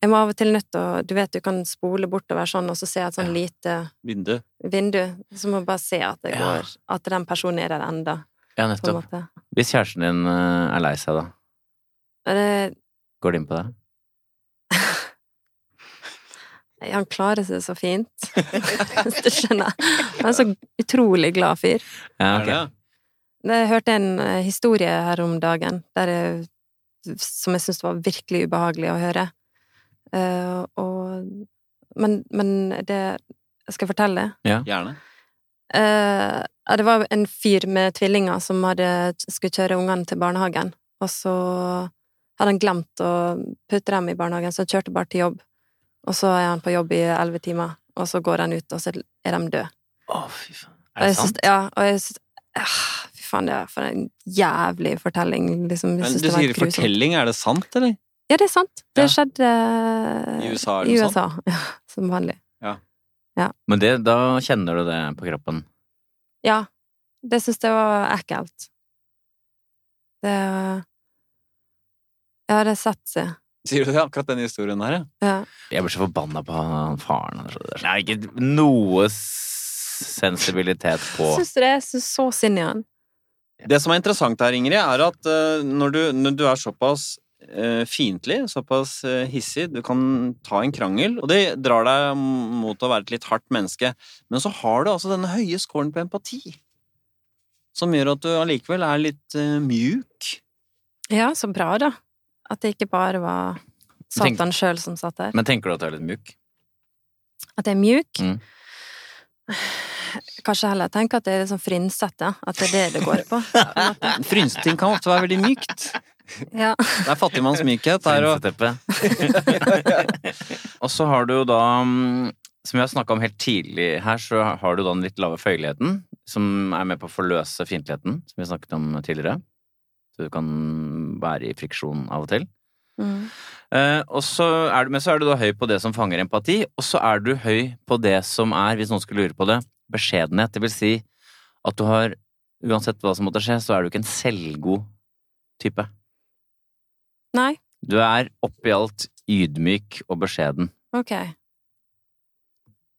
Speaker 4: Jeg må av og til nødt til å Du vet du kan spole bortover sånn, og så ser jeg et sånn lite
Speaker 2: Vindu.
Speaker 4: vindu, så må jeg bare se at det
Speaker 3: Ja.
Speaker 4: går At den personen er der enda,
Speaker 3: Ja,
Speaker 4: på en
Speaker 3: nettopp.
Speaker 4: måte.
Speaker 3: Hvis kjæresten din eh, er lei seg, da?
Speaker 4: Og det,
Speaker 3: Går det inn på deg?
Speaker 4: han klarer seg så
Speaker 3: [laughs]
Speaker 4: fint, [laughs] hvis du skjønner. Han er så utrolig glad fyr.
Speaker 3: Ja,
Speaker 2: Er
Speaker 3: ok.
Speaker 2: det?
Speaker 4: Det- Jeg hørte en eh, historie her om dagen der jeg, som jeg syntes var virkelig ubehagelig å høre. Eh, og, men, men det Skal jeg fortelle det?
Speaker 2: Gjerne.
Speaker 4: Eh, ja, det var en fyr med tvillinger som hadde, skulle kjøre ungene til barnehagen, og så hadde han glemt å putte dem i barnehagen, så han kjørte bare til jobb. Og så er han på jobb i elleve timer, og så går han ut, og så er de døde.
Speaker 3: Å, fy faen. Er
Speaker 4: Og
Speaker 3: det
Speaker 4: jeg syns-
Speaker 3: sant?
Speaker 4: Ja, og jeg syns ah, Fy faen, det er for en jævlig fortelling, liksom. Jeg
Speaker 2: Men
Speaker 4: syns
Speaker 2: du
Speaker 4: det var
Speaker 2: sier
Speaker 4: helt grusomt.
Speaker 2: fortelling, er det sant, eller?
Speaker 4: Ja, det er sant. Det
Speaker 2: Ja.
Speaker 4: skjedde
Speaker 2: I
Speaker 4: eh,
Speaker 2: USA
Speaker 4: i
Speaker 2: eller noe sånt?
Speaker 4: USA. Ja, som vanlig.
Speaker 3: Men det, da kjenner du det på kroppen.
Speaker 4: Ja. Det syns jeg var ekkelt. Det Ja, det setter seg.
Speaker 2: Sier du det? Akkurat denne historien her, ja.
Speaker 4: Ja.
Speaker 3: Jeg blir så forbanna på han faren. altså. Det er sånn- Jeg har ikke noe s- sensibilitet på
Speaker 4: Syns du det? Jeg syns så synd i han.
Speaker 2: Det som er interessant her, Ingrid, er at eh, når, du, når du er såpass uh, fiendtlig, såpass eh, hissig, du kan ta en krangel, og det drar deg mot å være et litt hardt menneske, men så har du altså denne høye scoren på empati, som gjør at du allikevel er litt eh, mjuk.
Speaker 4: Ja, så bra, da. At det ikke bare var
Speaker 3: Tenk-
Speaker 4: Satan sjøl som satt der.
Speaker 3: Men tenker du at du er litt mjuk?
Speaker 4: At jeg er mjuk.
Speaker 3: Mm.
Speaker 4: Kanskje heller tenke at det er litt sånn frynsete. At det er det det går
Speaker 3: [laughs]
Speaker 4: på.
Speaker 2: Frynseting kan ofte være veldig mykt.
Speaker 4: Ja.
Speaker 2: Det er fattigmanns mykhet. Det er å
Speaker 3: Prinseteppe. [laughs] Og så har du jo da mm, som vi har snakka om helt tidlig her, så har du da den litt lave føyeligheten, som er med på å forløse fiendtligheten, som vi snakket om tidligere. Så du kan være i friksjon av og til.
Speaker 4: Mm.
Speaker 3: Eh, og så er du, men så er du da høy på det som fanger empati, og så er du høy på det som er, hvis noen skulle lure på det, beskjedenhet. Det vil si at du har, uansett hva som måtte skje, så er du ikke en selvgod type.
Speaker 4: Nei?
Speaker 3: Du er oppi alt ydmyk og beskjeden.
Speaker 4: Ok.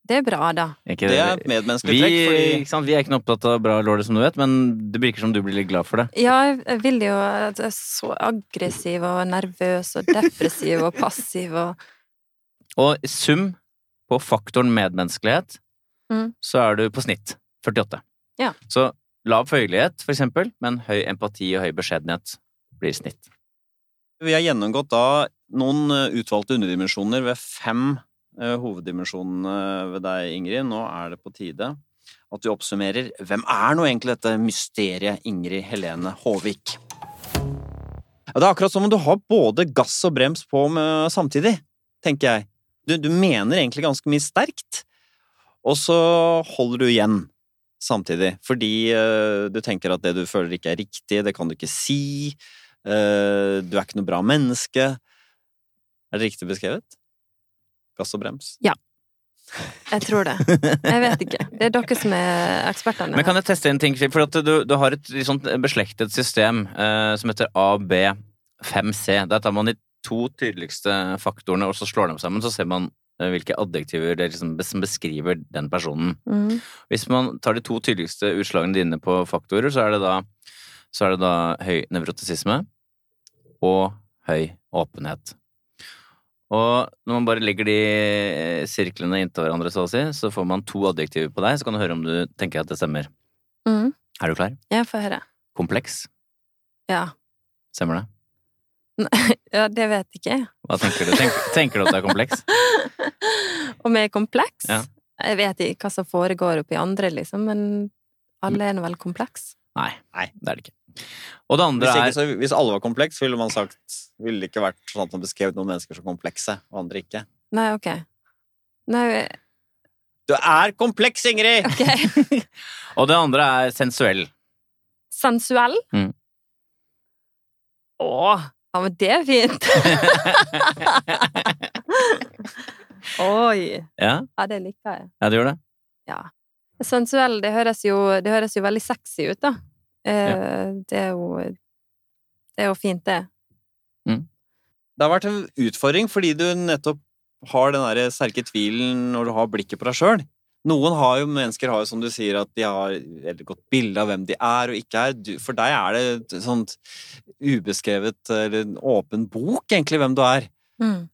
Speaker 4: Det er bra, da.
Speaker 3: Ikke,
Speaker 2: det er et medmenneskelig
Speaker 3: vi,
Speaker 2: trekk, fordi
Speaker 3: ikke sant? vi er ikke noe opptatt av bra lår, som du vet, men det virker som du blir litt glad for det.
Speaker 4: Ja, jeg- jeg vil jo at jeg er så aggressiv og nervøs og depressiv og passiv og
Speaker 3: Og i sum på faktoren medmenneskelighet,
Speaker 4: Mm.
Speaker 3: så er du på snitt 48.
Speaker 4: Ja.
Speaker 3: Så lav føyelighet, for eksempel, men høy empati og høy beskjedenhet blir snitt.
Speaker 2: Vi har gjennomgått da noen eh, utvalgte underdimensjoner ved fem eh, hoveddimensjonene ved deg, Ingrid. Nå er det på tide at vi oppsummerer. Hvem er nå egentlig dette mysteriet Ingrid Helene Håvik? Ja, Det er akkurat som om du har både gass og brems på med, eh, samtidig, tenker jeg. Du, du mener egentlig ganske mye sterkt, og så holder du igjen samtidig. Fordi eh, du tenker at det du føler ikke er riktig, det kan du ikke si. Eh, du er ikke noe bra menneske. Er det riktig beskrevet? Gass og brems.
Speaker 4: Jeg tror det. Jeg vet ikke. Det er dere som er ekspertene.
Speaker 3: Men kan jeg teste en ting? For at du, du har et litt sånt beslektet system eh, som heter AB5C. Der tar man de to tydeligste faktorene, og så slår dem sammen. Så ser man eh, hvilke adjektiver det liksom, som beskriver den personen.
Speaker 4: Mhm.
Speaker 3: Hvis man tar de to tydeligste utslagene dine på faktorer, så er det da, så er det da høy nevrotisisme og høy åpenhet. Og når man bare legger de eh, sirklene inntil hverandre, så å si, så får man to adjektiver på deg, så kan du høre om du tenker at det stemmer.
Speaker 4: Mhm.
Speaker 3: Er du klar?
Speaker 4: Jeg får høre.
Speaker 3: Kompleks.
Speaker 4: Ja.
Speaker 3: Stemmer det?
Speaker 4: ja. Det vet ikke jeg.
Speaker 3: Hva tenker du? Tenk, [laughs] tenker du at det er kompleks?
Speaker 4: Om jeg er kompleks?
Speaker 3: Ja.
Speaker 4: Jeg vet ikke hva som foregår oppi andre, liksom, men alle er nå vel kompleks.
Speaker 3: Nei,
Speaker 2: Nei.
Speaker 3: det er det ikke. Og det andre
Speaker 2: Hvis, ikke,
Speaker 3: er
Speaker 2: så, hvis alle var kompleks, ville man sagt Ville det ikke vært sånn at man beskrev noen mennesker som komplekse, og andre ikke.
Speaker 4: Nei, ok. Nei,
Speaker 2: Du er kompleks, Ingrid!
Speaker 4: ok.
Speaker 3: [laughs] Og det andre er sensuell.
Speaker 4: Sensuell?
Speaker 3: Mm.
Speaker 4: Å, ja, men det er
Speaker 3: [laughs]
Speaker 4: fint. Oi.
Speaker 3: ja,
Speaker 4: Ja, det liker jeg.
Speaker 3: ja, det gjør det.
Speaker 4: Sensuell, det høres jo, det høres jo veldig sexy ut, da. Eh, Det er jo Det er jo fint, det.
Speaker 2: Det har vært en utfordring fordi du nettopp har den der sterke tvilen når du har blikket på deg sjøl. Noen har jo, mennesker har jo, som du sier, at de har et godt bilde av hvem de er og ikke er. Du, for deg er det et sånt ubeskrevet, eller en åpen bok, egentlig, hvem du er.
Speaker 4: Mm.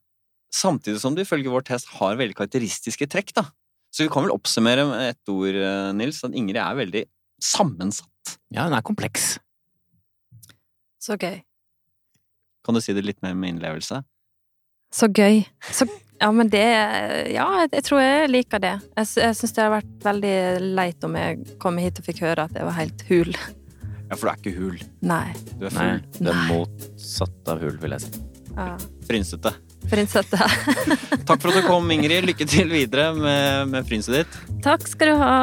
Speaker 2: Samtidig som du ifølge vår test har veldig karakteristiske trekk, da. Så vi kan vel oppsummere med ett ord, eh, Nils, at Ingrid er veldig sammensatt.
Speaker 3: Ja, hun er kompleks.
Speaker 4: Så gøy.
Speaker 2: Kan du si det litt mer med innlevelse?
Speaker 4: Så gøy. Så, ja, men det Ja, jeg, jeg tror jeg liker det. Jeg, sy- jeg syns det hadde vært veldig leit om jeg kom hit og fikk høre at jeg var helt hul. [laughs]
Speaker 2: Ja, for du er ikke hul.
Speaker 4: Nei.
Speaker 2: Du er
Speaker 3: Nei,
Speaker 2: full.
Speaker 3: det er motsatt av hul, vil jeg si.
Speaker 4: Ja.
Speaker 2: Frynsete.
Speaker 4: Prinsette.
Speaker 2: Takk for at du kom, Ingrid. Lykke til videre med, med frynset ditt.
Speaker 4: [laughs] Takk skal du ha.